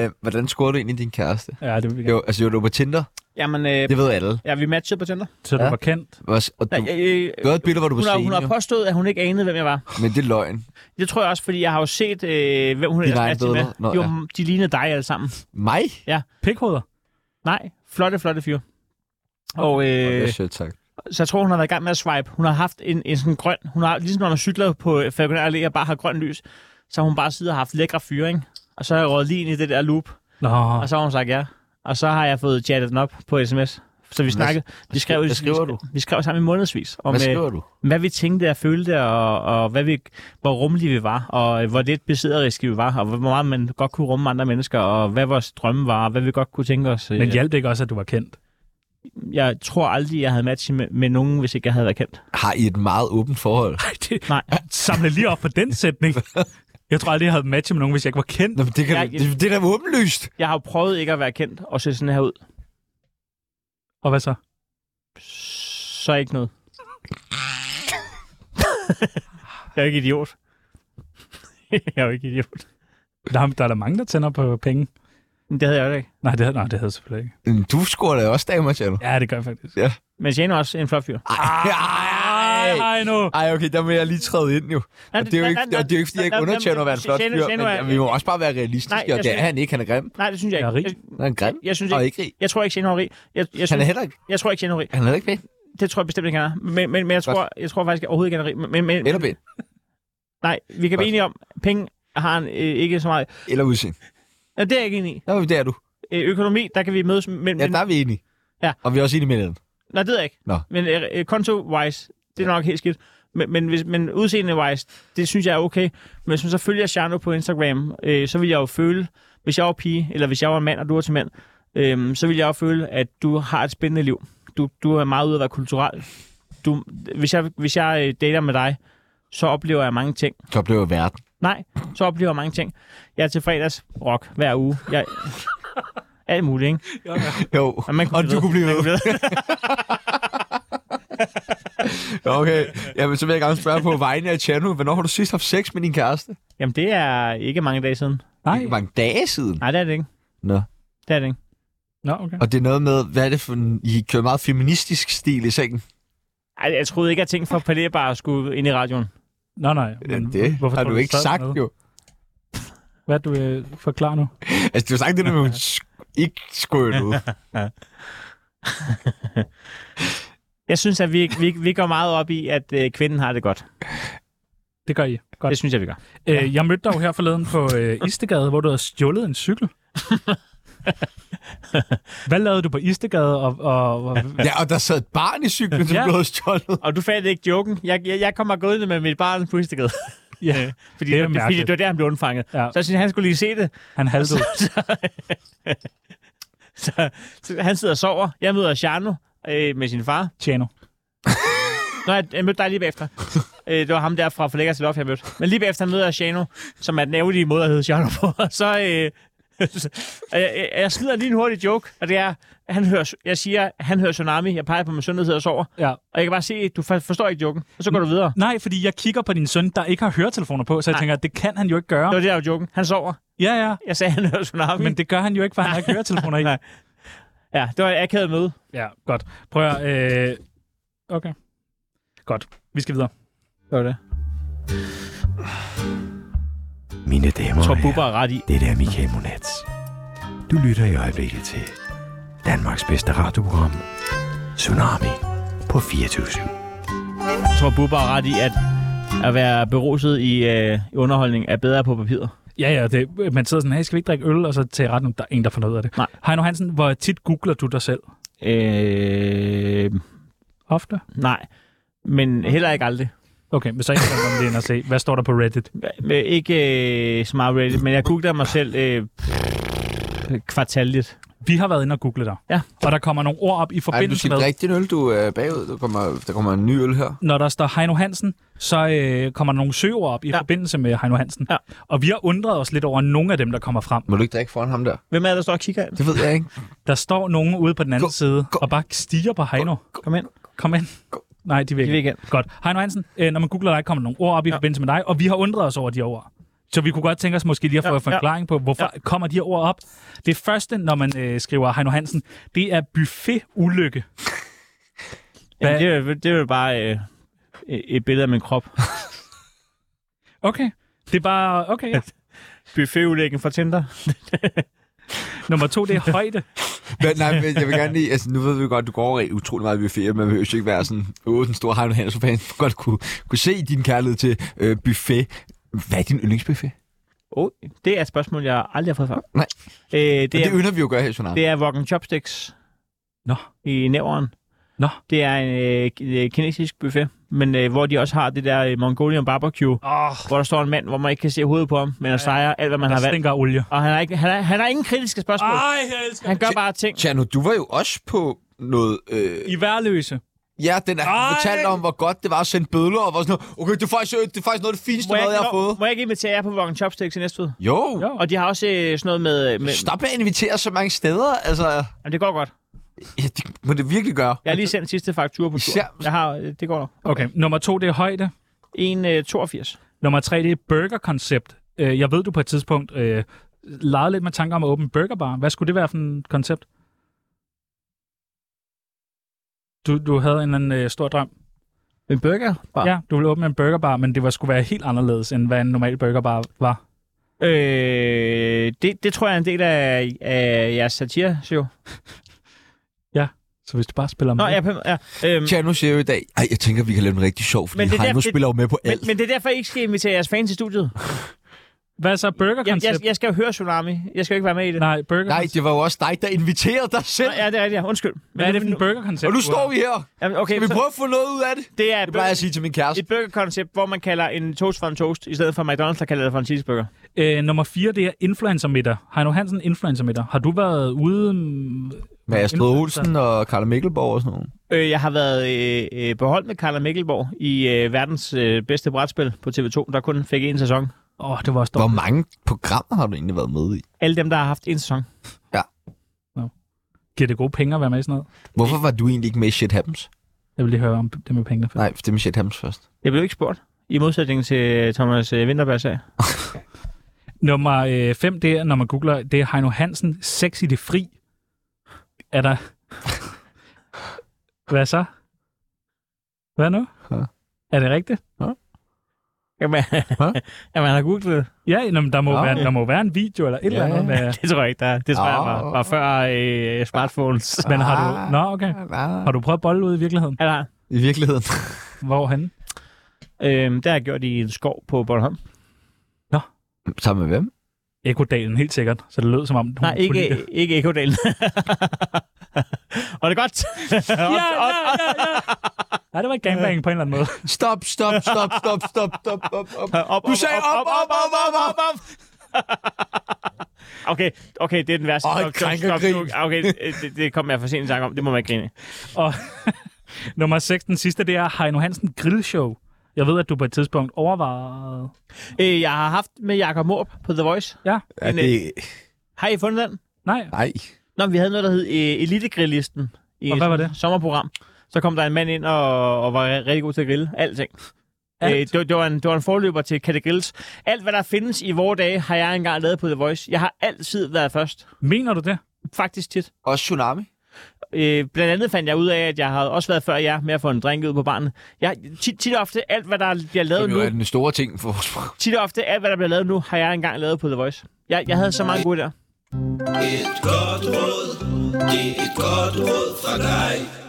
A: Øh, hvordan scorede du egentlig din kæreste?
B: Ja, det vil vi gerne.
A: Jo, altså, jo, du var på Tinder.
C: Jamen, øh,
A: Det ved alle.
C: ja, vi matchede på Tinder.
B: Så du
A: Ja.
B: var kendt.
A: Og, og du,
C: Nej, øh,
A: du havde et billede, hvor du var
C: hun, har, hun har
A: senior,
C: påstået, at hun ikke anede, hvem jeg var.
A: men det er løgn.
C: Det tror jeg også, fordi jeg har jo set, øh, hvem hun
A: Dine
C: ellers
A: egne
C: matchede med.
A: billeder? Nå,
C: jo,
A: ja.
C: de ligner dig alle sammen.
A: Mig?
B: Pikhoveder.
C: Nej, flotte, flotte fyre. Og øh,
A: Øh. Selv tak.
C: så jeg tror, hun har været i gang med at swipe. Hun har haft en, en sådan grøn... Hun har, ligesom når man cykler på øh, Falconer Allé og bare har grøn lys, så har hun bare siddet og haft lækre fyre, ikke? Og så har jeg røget lige ind i det der loop,
B: Nå,
C: og så har hun sagt ja. Og så har jeg fået chattet den op på sms. Så vi snakkede, vi skrev,
A: hvad skriver
C: vi,
A: du?
C: vi skrev sammen i månedsvis. Om,
A: Hvad
C: øh,
A: skriver du?
C: hvad vi tænkte og følte, og, og hvad vi, hvor rummelige vi var, og øh, hvor lidt besidderiske vi var, og hvor meget man godt kunne rumme andre mennesker, og hvad vores drømme var, og hvad vi godt kunne tænke os. Øh,
B: men hjalp det ikke også, at du var kendt?
C: Jeg tror aldrig, jeg havde matchet med, med nogen, hvis ikke jeg havde været kendt.
A: Har I et meget åbent forhold?
B: Nej, <laughs> det...
C: Nej.
B: Samle lige op på den sætning. Jeg tror aldrig, jeg havde matchet med nogen, hvis jeg ikke var kendt.
A: Nå, men det, kan,
C: Ja,
A: ja,
C: jeg-
A: det, det er da åbenlyst.
C: Jeg har jo prøvet ikke at være kendt og se sådan her ud.
B: Og hvad så?
C: Så ikke noget. jeg er jo ikke idiot. <laughs> jeg er jo ikke idiot.
B: Der, er- der er der mange, der tænder på penge.
C: Men det havde jeg jo ikke.
B: Nej, det, havde- nej, det havde jeg selvfølgelig ikke.
A: Men Du scorer da også damer, Tjerno.
B: Ja, det gør jeg faktisk.
C: Men Jane er også en flot fyr.
A: Ej,
B: Ej,
A: ej, ej.
B: ej nu.
A: Ej, okay, der må jeg lige træde ind jo. Og det er jo ikke, og det er jo ikke fordi jeg ikke underkender at være en flot
C: Jane-
A: fyr,
C: Jane er-
A: men vi må også bare være realistiske,
C: Nej, jeg
A: og det er
C: synes-
A: han ikke. Han er grim.
C: Nej, det synes jeg
B: Jeg er
C: ikke.
B: rig.
C: Jeg,
A: Han er grim.
C: jeg synes
A: Og
C: ikke,
A: ikke rig.
C: jeg tror ikke, Shane er rig. Jeg, jeg,
A: Han er
C: synes,
A: heller ikke,
C: jeg tror ikke, Shane er rig.
A: han er heller ikke pæn.
C: Det tror jeg bestemt ikke, han er. Men, men, men jeg, tror, jeg tror faktisk overhovedet ikke, han er rig. Men, men,
A: Eller pæn.
C: nej, vi kan
A: Godt.
C: være enige om, penge har han øh, ikke så meget.
A: Eller udseende.
C: Ja, det er jeg ikke enig i.
A: Nå, men det er du.
C: Øh, økonomi, der kan vi mødes. Men, men,
A: Ja,
C: ja,
A: der er vi enige.
C: Ja.
A: Og vi er også enige med hinanden.
C: Nej, det er jeg ikke.
A: Nå.
C: Men øh, øh, konto-wise, det er nok helt skidt. Men, men, hvis, men udseende-wise, det synes jeg er okay. Men hvis man så følger Shano på Instagram, øh, så vil jeg jo føle, hvis jeg var pige, eller hvis jeg var mand, og du var til mand, øh, så vil jeg jo føle, at du har et spændende liv. Du, du er meget ude at være kulturel. Du, hvis jeg, hvis jeg øh, dater med dig, så oplever jeg mange ting.
A: Så blev jeg verden.
C: Nej, så oplever jeg mange ting. Jeg er til fredags rock hver uge.
A: <laughs>
C: Jeg, alt muligt, ikke?
A: Jo.
C: Og, man
A: Og du kunne blive
C: Man
A: ved.
C: ved.
A: Okay. Jamen, så vil jeg gerne spørge på vegne af Tjerno. Hvornår har du sidst haft sex med din kæreste?
C: Jamen, det er ikke mange dage siden.
B: Nej.
A: Ikke mange dage siden.
C: Nej, det er det ikke.
A: Nå.
C: Det er det ikke.
B: Nå, okay.
A: Og det er noget med, hvad er det for en... I kører meget feministisk stil i sengen.
C: Ej, jeg troede ikke, at ting fra Palais bare skulle ind i radioen.
B: Nå, nej.
A: Ja,
B: Men
A: det har
B: Mm, tror
A: du ikke
B: stadig
A: sagt,
B: noget?
A: jo.
B: Hvad du øh, forklarer nu?
A: Altså, du har sagt det der med, at hun sk- ikke skørt ud.
C: Jeg synes, at vi, vi, vi går meget op i, at øh, kvinden har det godt.
B: Det gør I. Godt.
C: Det synes jeg, vi gør.
B: Øh,
C: <laughs>
B: jeg mødte dig jo her forleden på øh, Istegade, hvor du havde stjålet en cykel. Hvad lavede du på Istegade? Og, og, og,
A: Ja, og der sad et barn i cyklen, som
B: Ja.
A: blev stjålet.
C: Og du fandt ikke joken. Jeg, jeg, jeg kommer gående med mit barn på Istegade.
B: ja,
C: <laughs>
B: Det
C: Fordi det,
B: er
C: det, fordi
B: mærkeligt.
C: det var der, han blev undfanget.
B: Ja.
C: Ja. Så jeg synes, han skulle lige se det.
B: han
C: <laughs>
B: haltede.
C: Så, så han sidder og sover. Jeg møder Shano øh, med sin far.
B: Tjano.
C: Nå, jeg, jeg mødte dig lige <laughs> bagefter. øh, det var ham der fra Forlægger til Lof, jeg mødte. Men lige bagefter møder jeg Shano, som er den ærgerlige måde at hedde Shano på. <laughs> Og så... Øh, så- og jeg, jeg, jeg smider lige en hurtig joke, og det er, han hører, jeg siger, han hører tsunami, jeg peger på min søn, der sidder og sover,
B: Ja.
C: og jeg kan bare se, du for- forstår ikke joken, og så går du videre.
B: Nej, fordi jeg kigger på din søn, der ikke har høretelefoner på, så jeg
C: Nej.
B: tænker, det kan han jo ikke gøre.
C: Det var det, der var joken. Han sover.
B: Ja, ja,
C: Jeg sagde, han hører tsunami.
B: men
C: Men...
B: det gør han jo ikke, for han har ikke høretelefoner i.
C: Nej. Ja, det var et akavet møde.
B: Ja, godt. Prøv at... Øh... Okay. Godt. Vi skal videre.
C: Det var det.
H: Mine damer
C: Jeg tror,
H: og herrer,
C: Bubber er ret i.
H: det er Michael Monats. Du lytter i øjeblikket til Danmarks bedste radioprogram, Tsunami på 24
C: Jeg tror, Bubber er ret i, at at være beruset i, øh, i underholdning er bedre på papiret.
B: Ja, ja, det, man sidder sådan, hey, skal vi ikke drikke øl? Og så tager retten, der er ingen, der får noget af det.
C: Nej.
B: Heino Hansen, hvor tit googler du dig selv?
C: Øh,
B: Ofte?
C: nej, men heller ikke aldrig.
B: Okay, men så ikke om det ind og se, hvad står der på Reddit?
C: Øh, Ikke øh, så meget Reddit, men jeg googler mig selv øh, kvartalligt.
B: Vi har været inde og google dig.
C: Ja.
B: Og der kommer nogle ord op i
A: Ej, men du
B: forbindelse
A: skal
B: med...
A: drikke din øl, du er bagud. Der kommer, der kommer en ny øl her.
B: Når der står Heino Hansen, så øh, kommer der nogle søger op i ja.
C: Ja.
B: forbindelse med Heino Hansen.
C: Ja.
B: Og vi har undret os lidt over nogle af dem, der kommer frem.
A: Må du ikke drikke foran ham der?
C: Hvem er det, der står og kigger ind?
A: Det ved jeg ikke.
B: Der står nogen ude på den anden
A: Gå,
B: side
A: gå.
B: og bare stiger på Heino.
C: Kom ind.
B: Kom ind. Nej, de vil
C: Kig
B: ikke.
C: igen.
B: Godt. Heino Hansen, øh, når man googler dig, kommer der nogle ord op i ja. forbindelse med dig, og vi har undret os over de her ord. Så vi kunne godt tænke os måske lige at få
C: Ja,
B: ja, en
C: ja.
B: forklaring på, hvorfor ja. kommer de her ord op. Det første, når man øh, skriver Heino Hansen, det er buffet-ulykke.
C: Jamen,
B: Hvad-
C: det, er jo- det er jo bare øh, et billede af min
B: <laughs>
C: krop.
B: Okay. Det er bare... Okay, ja.
C: Buffetudlæggen fra Tinder.
B: Nummer to, det er højde.
A: Men, nej, men jeg vil gerne lige... Altså, nu ved vi godt, at du går over i utrolig meget buffet, men man vil jo ikke være sådan... Åh, den store Heino Hansen fan. Du godt kunne, kunne se din kærlighed til øh, buffet. Hvad er din yndlingsbuffet?
C: Oh, det er et spørgsmål, jeg aldrig har fået før.
A: Nej.
C: Øh, det,
A: Det,
C: er,
A: det ynder vi jo at gøre her, Sonar.
C: det er Rock'n Chopsticks
B: Nå.
C: i nævren.
B: Nå.
C: Det er en øh, k- øh, kinesisk buffet, men øh, hvor de også har det der øh, Mongolian barbecue,
B: Åh, oh,
C: hvor der står en mand, hvor man ikke kan se hovedet på ham, men han sejrer alt, hvad man har
B: der
C: valgt.
B: stinker af olie.
C: Og han har, ikke, han, har, han har ingen kritiske spørgsmål.
A: Ah!
B: Ej, jeg elsker
C: Han gør bare ting.
A: Tjerno, du var jo også på noget... Øh,
B: I værløse.
A: ja, den
B: Ej!
A: er fortalt om, hvor godt det var at sende bødler og var sådan noget. Okay, det er faktisk, øh, det er faktisk noget af det fineste
C: Må jeg,
A: mad, jeg har
C: ikke,
A: fået.
C: må jeg ikke invitere jer på Rock'n Chopsticks i næste uge?
A: Jo,
B: Jo.
A: jo.
C: Og de har også øh, sådan noget med... med
A: stop med at invitere så mange steder. Altså,
C: Jamen, det går godt.
A: ja, det må det virkelig gøre.
C: Jeg har lige sendt sidste faktur på tur.
A: Især-
C: Jeg har, øh, det går nok. øh,
B: Okay, nummer to, det er højde.
C: 1,82.
B: Nummer tre, det er burgerkoncept. Øh, jeg ved, du på et tidspunkt øh, legede lidt med tanker om at åbne en burgerbar. Hvad skulle det være for en koncept? Du, du havde en eller anden øh, stor drøm.
C: En burger? Bare.
B: Ja, du ville åbne en burgerbar, men det var, skulle være helt anderledes, end hvad en normal burgerbar var.
C: Øh, det, det tror jeg er en del af, af jeres satire, jo.
B: Så hvis du bare spiller med...
C: Nå, ja, pem- ja. Øhm,
A: Tjerno siger jo i dag, Ej, jeg tænker, vi kan lave en rigtig sjov, fordi
C: Men det er
A: Heino
C: derfor-
A: spiller jo med på
C: men,
A: alt.
C: men det er derfor, I ikke skal invitere jeres fans i studiet.
B: Hvad så
C: Jeg,
B: burgerkoncept?
C: jeg, jeg skal jo høre Tsunami. Jeg skal jo ikke være med i det.
B: Nej, burger
A: Nej, det var jo også dig, der inviterede dig selv.
C: Nå, ja, det er rigtigt. ja. Undskyld. Men
B: Hvad er det for en
C: nu-
B: burgerkoncept?
A: Og nu
B: du har?
A: står vi her.
C: Jamen, okay,
A: Kan vi
C: så-
A: prøve at få noget ud af det?
C: Det er
A: Det plejer jeg at sige til min kæreste.
C: et burgerkoncept, hvor man kalder en toast for en toast, i stedet for McDonald's, der kalder det for en cheeseburger.
B: Øh, nummer 4, det er influencermiddag. Heino Hansen, influencermiddag. Har du været ude... mm,
A: Med Astrid
B: influencer?
A: Olsen og Karla Mikkelborg og sådan noget.
C: Øh, jeg har været øh, øh, på hold med Carla Mikkelborg i øh, verdens øh, bedste brætspil på TV2, der kun fik en sæson.
B: Åh, oh, det var også
A: Hvor
B: dårligt.
A: mange programmer har du egentlig været med i?
C: Alle dem, der har haft en sæson.
B: Giver det gode penge at være med i sådan noget?
A: Hvorfor var du egentlig ikke med i Shit Happens?
B: Jeg vil lige høre om det med pengene.
A: Nej, det er med Shit Happens først.
C: Jeg blev ikke spurgt, i modsætning til Thomas øh, Winterberg sag.
B: Nummer 5, det er, når man googler, det er Heino Hansen, sex i det fri. Er der... Hvad så? Hvad nu?
A: Ja.
B: Er det rigtigt?
C: Jamen, <laughs> jamen, han har googlet det.
B: Ja, nå, men der må,
A: Ja.
B: være, der må være en video eller et eller
A: Ja.
B: andet. Med,
C: Det tror jeg ikke, der er. Det tror jeg
A: Ah.
C: var, var før øh, smartphones.
B: men har du... Nå, okay. Har du prøvet at bolle ud i virkeligheden?
C: Eller,
A: I virkeligheden.
B: Hvorhen?
C: øh, det har jeg gjort i en skov på Bornholm.
A: Sammen med hvem?
B: Ekodalen, helt sikkert. Så det lød som om, hun
C: Nej,
B: kunne lide
C: ikke,
B: det.
C: ikke Ekodalen. <laughs> Var det godt?
B: Ja, ja, ja, ja. Nej, det var ikke gangbang på en eller anden måde.
A: Stop, stop, stop, stop, stop, stop, stop, op.
C: op,
A: Du sagde op, op, op, op, op, op.
C: Okay, okay, det er den værste.
A: Åh,
C: Stop, stop, stop,
A: krænkergrin.
C: stop. Okay, øh, det, det kom jeg for sent i tanke om. Det må man ikke grine. af.
B: <laughs> Og <laughs> nummer 6, den sidste, det er Heino Hansen Grillshow. Jeg ved, at du på et tidspunkt overvejede...
C: Øh, jeg har haft med Jakob Morp på The Voice.
B: Ja,
A: Ja, det...
C: Har I fundet den?
B: nej.
A: Nej.
C: Nå, men vi havde noget, der hed øh, Elitegrilllisten. I
B: Og hvad
C: et
B: var det?
C: Sommerprogram. Så kom der en mand ind og, og var rigtig god til at grille. Alting.
B: Alt.
C: Alt. Øh, det, var- det, var en, det var en forløber til Katte Grills. Alt, hvad der findes i vore dage, har jeg engang lavet på The Voice. Jeg har altid været først.
B: Mener du det?
C: Faktisk tit.
A: Også tsunami.
C: Øh, blandt andet fandt jeg ud af, at jeg havde også været før jer med at få en drink ud på barnet. Jeg, tit, tit og ofte, alt hvad der bliver lavet
A: Det
C: nu,
A: er den store ting for vores
C: tit og ofte, alt hvad der bliver lavet nu, har jeg engang lavet på The Voice. Jeg, jeg havde så mange gode der.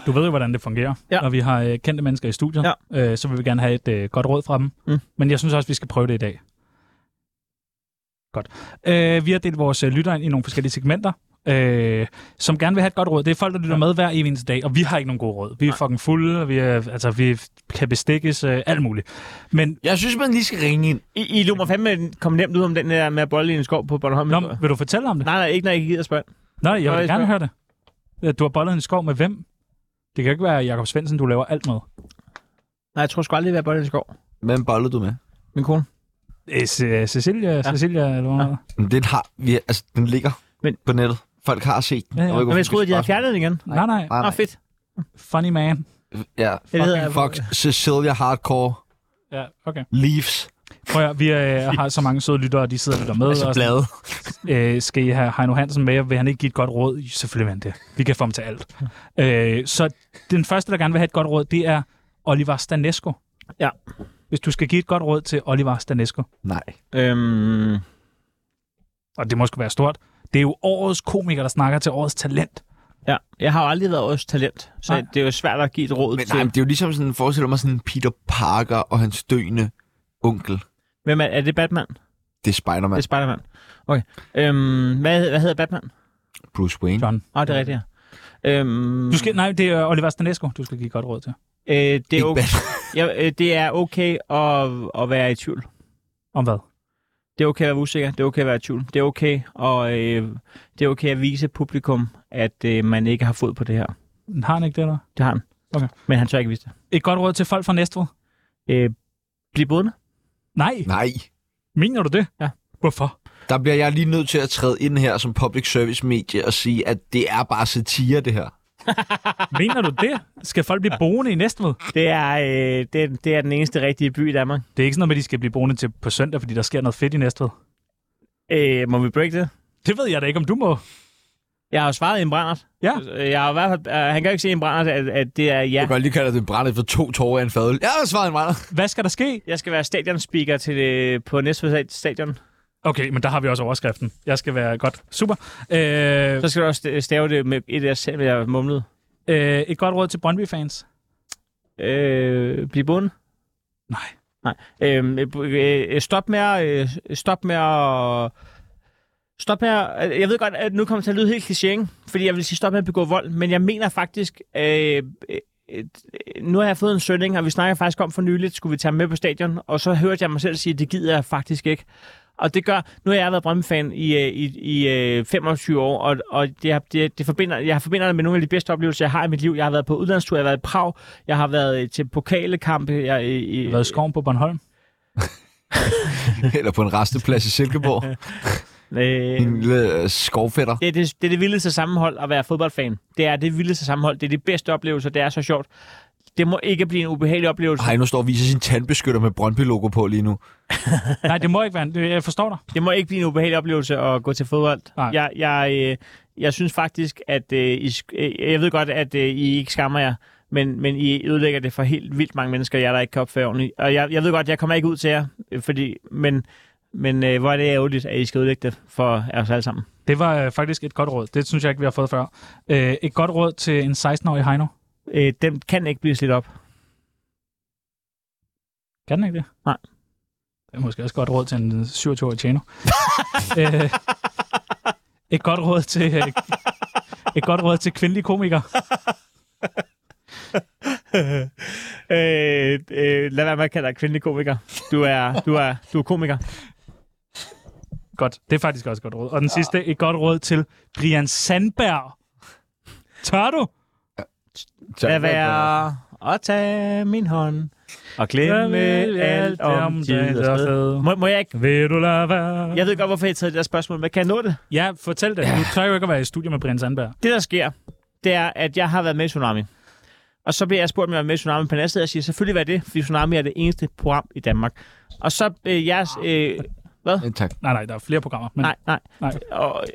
B: Du ved jo, hvordan det fungerer.
C: Ja.
B: Når vi har øh, kendte mennesker i studiet, ja. øh, så vil vi gerne have et øh, godt råd fra dem.
C: Mm.
B: Men jeg synes også, vi skal prøve det i dag. Godt. Øh, vi har delt vores øh, lytter ind i nogle forskellige segmenter, øh, som gerne vil have et godt råd. Det er folk, der lytter ja. med hver evig eneste dag, og vi har ikke nogen gode råd. Vi er Nej. fucking fulde, og vi, er, altså, vi kan bestikkes øh, alt muligt. Men
A: Jeg synes, man lige skal ringe ind.
C: I, I lå mig fandme komme nemt ud om den der med at bolle i en skov på Bornholm.
B: Nå,
C: Nej,
B: vil du fortælle om det?
C: nej, ikke når I ikke gider spørge.
B: Nej, jeg
C: Nå,
B: vil gerne
C: jeg spørger.
B: høre det. Ja, Du har bollet en skov med hvem? Det kan jo ikke være Jakob Svendsen, du laver alt med.
C: Nej, jeg tror sgu aldrig, at jeg bolle i en skov.
A: Hvem bollede du med?
C: Min kone.
B: Øh, Ce- Cecilia, ja. Cecilia eller hvad? Ja.
A: Den har vi, altså, den ligger
C: Men-
A: Men... på nettet. Folk har set den.
B: Ja, ja.
A: ved ikke,
C: Nå, Men
A: hvorfor
C: jeg
A: vi
C: troede, at de havde
A: spørger
C: fjernet den igen.
B: Nej, nej.
A: sådan. Nej,
C: Nå,
A: nej.
C: fedt.
B: Funny man.
A: Ja.
C: Det hedder jeg.
A: Fuck Cecilia Hardcore
B: Ja, okay.
A: Leaves.
B: Prøv at, høre, vi øh, har så mange søde lyttere, de sidder og lytter med.
A: Altså
B: og sådan,
A: blade.
B: øh, skal I have Heino Hansen med, og vil han ikke give et godt råd? Selvfølgelig vil han det. Vi kan få ham til alt. Øh, så den første, der gerne vil have et godt råd, det er Oliver Stanesco.
C: Ja.
B: Hvis du skal give et godt råd til Oliver Stanesco,
A: Nej.
C: Øhm,
B: og det må sgu være stort, det er jo årets komiker, der snakker til årets talent.
C: ja. Jeg har jo aldrig været årets talent, så
B: Nej.
C: det er jo svært at give et råd
A: Men
C: til.
A: nej, men det er jo ligesom sådan, forestiller mig sådan Peter Parker og hans døende onkel.
C: Hvem er, er det Batman?
A: Det er Spider-Man.
C: Det er Spider-Man. Okay. Øhm, hvad, hvad hedder Batman?
A: Bruce Wayne.
B: John.
C: Åh, oh, det er rigtigt, ja. Øhm,
B: Du skal, nej, det er Oliver Stanesco, du skal give et godt råd til.
C: øh, det, er
A: Ikke
C: okay,
A: Batman.
C: ja, øh, det er okay at, at være i tvivl.
B: Om hvad?
C: Det er okay at være usikker, det er okay at være i tvivl. Det er okay, og, øh, det er okay at vise publikum, at øh, man ikke har fod på det her.
B: Har han ikke det, eller?
C: Det har han.
B: Okay.
C: Men han tør ikke vise det.
B: Et godt råd til folk fra Næstved?
C: Øh, bliv boende.
B: Nej.
A: <laughs> Nej.
B: Mener du det?
C: Ja.
B: Hvorfor?
A: Der bliver jeg lige nødt til at træde ind her som public service medie og sige, at det er bare satire, det her.
B: Mener du det? Skal folk blive boende i Næstved?
C: Det er, øh, det, er, det er den eneste rigtige by i Danmark.
B: Det er ikke sådan noget med, at de skal blive boende til på søndag, fordi der sker noget fedt i Næstved.
C: Øh, må vi break det?
B: Det ved jeg da ikke, om du må.
C: Jeg har jo svaret i en brændert.
B: Ja.
C: Jeg har i hvert fald, øh, han kan jo ikke se i en brændert, at, at det er ja.
A: Jeg kan godt lige kalde det brændet for to tårer af en fadøl. Jeg har svaret en brænder.
B: Hvad skal der ske?
C: Jeg skal være stadionspeaker til, øh, på Næstved Stadion.
B: Okay, men der har vi også overskriften. Jeg skal være godt. Super. Øh,
C: Så skal du også st- stave det med et af selv, jeg mumlede.
B: øh, et godt råd til Brøndby-fans.
C: Øh, bliv boende.
B: Nej.
C: Nej. Øhm, øh, øh, stop med at... Øh, stop med at... Stop med at, øh, Jeg ved godt, at nu kommer det til at lyde helt kliché, ikke? fordi jeg vil sige stop med at begå vold, men jeg mener faktisk... Øh, øh, øh, nu har jeg fået en søn, ikke? og vi snakker faktisk om for nyligt, skulle vi tage ham med på stadion, og så hørte jeg mig selv sige, at det gider jeg faktisk ikke. Og det gør, nu har jeg været Brøndby-fan i, øh, i, i øh, 25 år, og, og det, har- det, det forbinder, jeg forbinder det med nogle af de bedste oplevelser, jeg har i mit liv. Jeg har været på udlandstur, jeg har været i Prag, jeg har været øh, til pokalekampe. Jeg, i, i,
B: Hvad skoven på Bornholm?
A: Eller på en resteplads i <laughs> Silkeborg.
C: Øh,
A: En lille øh, skovfætter.
C: det, er det, det er det vildeste sammenhold at være fodboldfan. Det er det vildeste sammenhold. Det er de bedste oplevelser. Det er så sjovt. Det må ikke blive en ubehagelig oplevelse.
A: Hej, nu står og viser sin tandbeskytter med Brøndby-logo på lige nu.
B: Nej, det må ikke være. en- det- Jeg forstår dig.
C: Det må ikke blive en ubehagelig oplevelse at gå til fodbold.
B: Nej.
C: Jeg, jeg, øh, jeg synes faktisk, at øh, I, sk- øh, jeg ved godt, at øh, I ikke skammer jer, men, men I ødelægger det for helt vildt mange mennesker, jeg der ikke kan opføre ordentligt. Og jeg, jeg ved godt, jeg kommer ikke ud til jer, øh, fordi, men, men øh, hvor er det ærgerligt, at I skal ødelægge det for os alle sammen.
B: Det var øh, faktisk et godt råd. Det synes jeg ikke, vi har fået før. Øh, et godt råd til en 16-årig Heino.
C: Øh, den kan ikke blive slidt op.
B: Kan den ikke det?
C: Nej.
B: Det er måske også godt råd til en 27-årig tjener. <laughs> øh, et godt råd til... Øh, et godt råd til kvindelige komikere.
C: <laughs> Øh, øh, lad være med at kalde dig kvindelig komiker. Du er, du er, du er komiker.
B: Godt. Det er faktisk også et godt råd. Og den sidste, et godt råd til Brian Sandberg. Tør du?
C: Lad være at tage min hånd og glemme alt om tid og sted. Må, må jeg ikke?
B: Vil du lade være?
C: Jeg ved godt, hvorfor jeg tager det der spørgsmål, men kan jeg nå det?
B: Ja, fortæl det. Du tør jo ikke at være i studiet med Brian Sandberg.
C: Det, der sker, det er, at jeg har været med i Tsunami. Og så bliver jeg spurgt, om jeg var med i Tsunami på næste, og jeg siger, selvfølgelig var det, fordi Tsunami er det eneste program i Danmark. Og så øh, jeres... Øh,
A: Ja, tak.
B: Nej, nej, der er flere programmer. Men
C: nej, nej.
B: Nej.
C: Og, og,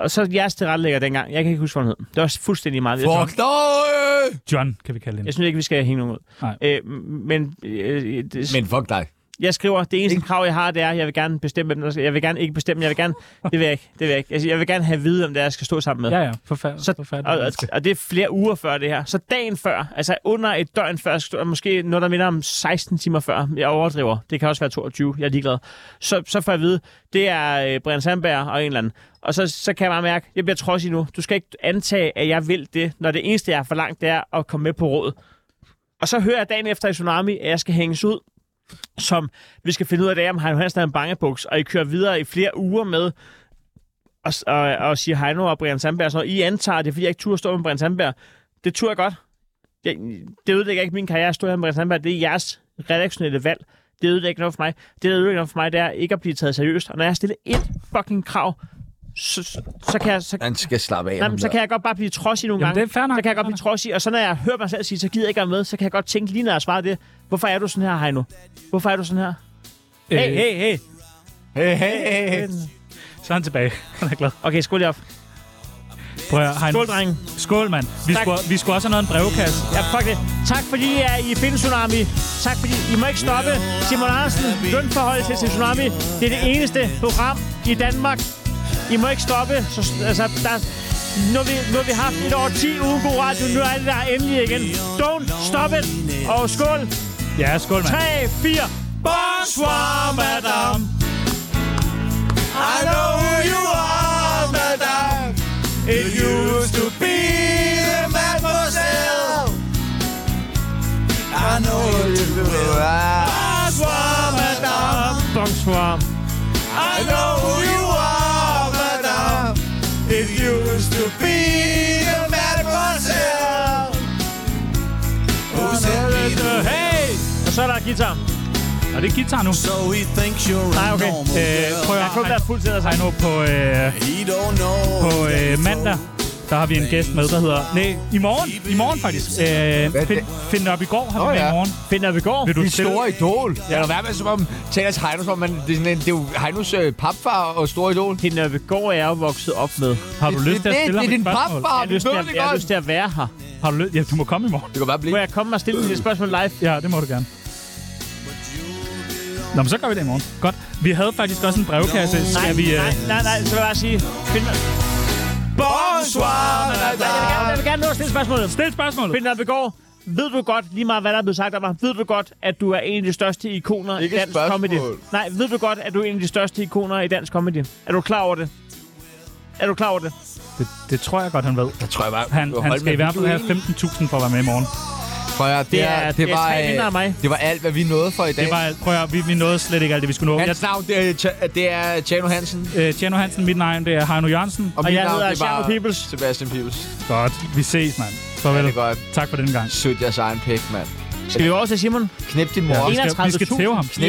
C: og, så jeres tilrettelægger dengang. Jeg kan ikke huske, hvad han hed. Det var fuldstændig meget.
A: Fuck dig!
B: John kan vi kalde hende.
C: Jeg synes ikke, vi skal hænge nogen ud.
B: Nej.
C: Øh, men øh, det,
A: Men fuck dig.
C: jeg skriver, det eneste krav, jeg har, det er, at jeg vil gerne bestemme, hvem der skal. Jeg vil gerne ikke bestemme, jeg vil gerne... Det vil jeg ikke. Det vil jeg ikke. Altså, jeg vil gerne have at vide, om det er, jeg skal stå sammen med.
B: Ja, ja. Forfærdeligt.
C: Så, og, og, og, det er flere uger før det her. Så dagen før, altså under et døgn før, jeg skal stå- måske noget, der minder om 16 timer før. Jeg overdriver. Det kan også være 22. Jeg er ligeglad. Så, så får jeg at vide, det er øh, Brian Sandberg og en eller anden. Og så, så kan jeg bare mærke, jeg bliver trodsig nu. Du skal ikke antage, at jeg vil det, når det eneste, jeg har forlangt, det er at komme med på råd. Og så hører jeg dagen efter i Tsunami, at jeg skal hænges ud som vi skal finde ud af, det er, om Heino Hansen er en bangebuks, og I kører videre i flere uger med og, og, og siger Heino og Brian Sandberg og sådan noget. I antager det, er, fordi jeg ikke turde stå med Brian Sandberg. Det turde jeg godt. Jeg, det ødelægger ikke min karriere at stå her med Brian Sandberg. Det er jeres redaktionelle valg. Det ødelægger noget for mig. Det, der ødelægger noget for mig, det er ikke at blive taget seriøst. Og når jeg stiller et fucking krav, så, så, så kan jeg... Så,
A: Han skal slappe af.
C: nej,
A: ham
C: men så
A: der.
C: kan jeg godt bare blive trodsig nogle
B: Jamen,
C: gange.
B: det er fair nok.
C: Så kan jeg godt blive trodsig, og så når jeg hører mig selv sige, så gider jeg ikke være med, så kan jeg godt tænke lige når jeg svarer det, hvorfor er du sådan her, Heino? Hvorfor er du sådan her?
B: Øh.
C: Hey, hey, hey.
A: Hey, hey, hey, hey.
B: Så er han tilbage. Øh. Han er glad.
C: Okay, skål lige op.
B: Prøv at, høre,
C: Skål,
B: Heino.
C: drenge.
B: Skål, mand. Vi
C: Tak.
B: skulle, vi skulle også have noget en brevkasse.
C: Ja, fuck det. Tak fordi I er i Finn Tsunami. Tak fordi I må ikke stoppe. Simon Andersen, lønforholdet til, til Tsunami. Det er det eneste program i Danmark. I må ikke stoppe. Så, altså, der, nu, har vi, nu har vi haft et år 10 ugen god radio. Nu er det der endelig igen. Don't stop it. Og skål.
B: Ja, skål, mand.
C: 3, 4. Bonsoir, madame. I know who you are, madame. It used to be the mademoiselle.
A: I know you will.
C: Bonsoir, madame. Bonsoir.
A: I know who you are, madame. It used to be a mademoiselle. Who said it?
C: Hey! Og så er der guitar.
B: Og det er guitar nu.
I: So he thinks you're a
C: Nej, Ah, okay.
I: normal
B: Øh,
I: girl.
B: prøv at
C: Jeg kunne
B: høre,
C: være fuld til dig,
B: Heino, på, øh,
I: He don't know.
B: på øh, mandag, der har vi en gæst med, der hedder... Nej, i morgen. I morgen, faktisk. Øh, find, find det op i går, har vi
A: Nå,
B: med i
A: ja.
B: morgen.
C: Finder vi går.
B: Vil du
A: Dit
B: stille?
A: store idol. Ja. Lad være med, som om taler til Heino, som om man, det, er sådan en, det er jo Heinos øh, papfar og store idol.
C: Finder vi går, er jeg jo vokset op med. Jeg
B: Har du lyst til
A: det, det,
B: at stille
A: det er
B: ham et
A: din
B: spørgsmål?
A: papfar,
C: har
A: vi
C: lyst til
A: ved
C: at,
A: det
C: jeg har
A: godt.
C: lyst til at være her.
B: Har du lyst? Ja, du må komme i morgen.
A: Du kan bare blive.
C: Må jeg komme og stille et spørgsmål live?
B: Ja, det må du gerne. Nå, men så gør vi det i morgen. Godt. Vi havde faktisk også en brevkasse.
C: Nej,
B: Skal vi... Øh,
C: nej, nej, nej, så vil jeg bare sige... Find mig.
A: Bonsoir,
C: Jeg vil gerne, jeg vil gerne nå at stille spørgsmålet.
B: stille spørgsmålet.
C: Finder vi går. Ved du godt, lige meget hvad der er blevet sagt om dig, ved du godt, at du er en af de største ikoner
A: Ikke
C: i dansk
A: spørgsmål.
C: comedy? Nej, ved du godt, at du er en af de største ikoner i dansk comedy? Er du klar over det? Er du klar over det?
B: Det, det tror jeg godt, han ved.
A: Jeg tror jeg bare,
B: Han,
A: du
B: han
A: holdt
B: skal
A: med
B: i hvert fald
A: vinduet
B: have 15.000 for at være med i morgen.
A: Prøv at høre, det,
C: Det
A: er,
C: er-
A: det,
C: det er
A: var,
C: tre
A: øh,
C: vinder af mig.
A: det var alt, hvad vi nåede for i dag.
B: Det var alt. Prøv at høre, vi, vi nåede slet ikke alt det, vi skulle nå. Jeg,
A: Hans navn, det er, Ch- det er Tjano Hansen.
B: øh, Tjerno Hansen, mit navn, det er Heino Jørgensen.
C: Og
A: mit
C: jeg
A: navn,
C: hedder
A: det var
C: Tjerno Peoples.
A: Sebastian Pibels.
B: Godt. Vi ses, mand. Farvel.
A: Ja, det er godt.
B: Tak for den gang.
A: Sødt jeres egen pæk, mand.
C: Skal vi over til Simon?
A: Knip din mor.
B: Vi skal, vi skal tæve ham.
C: 31.000.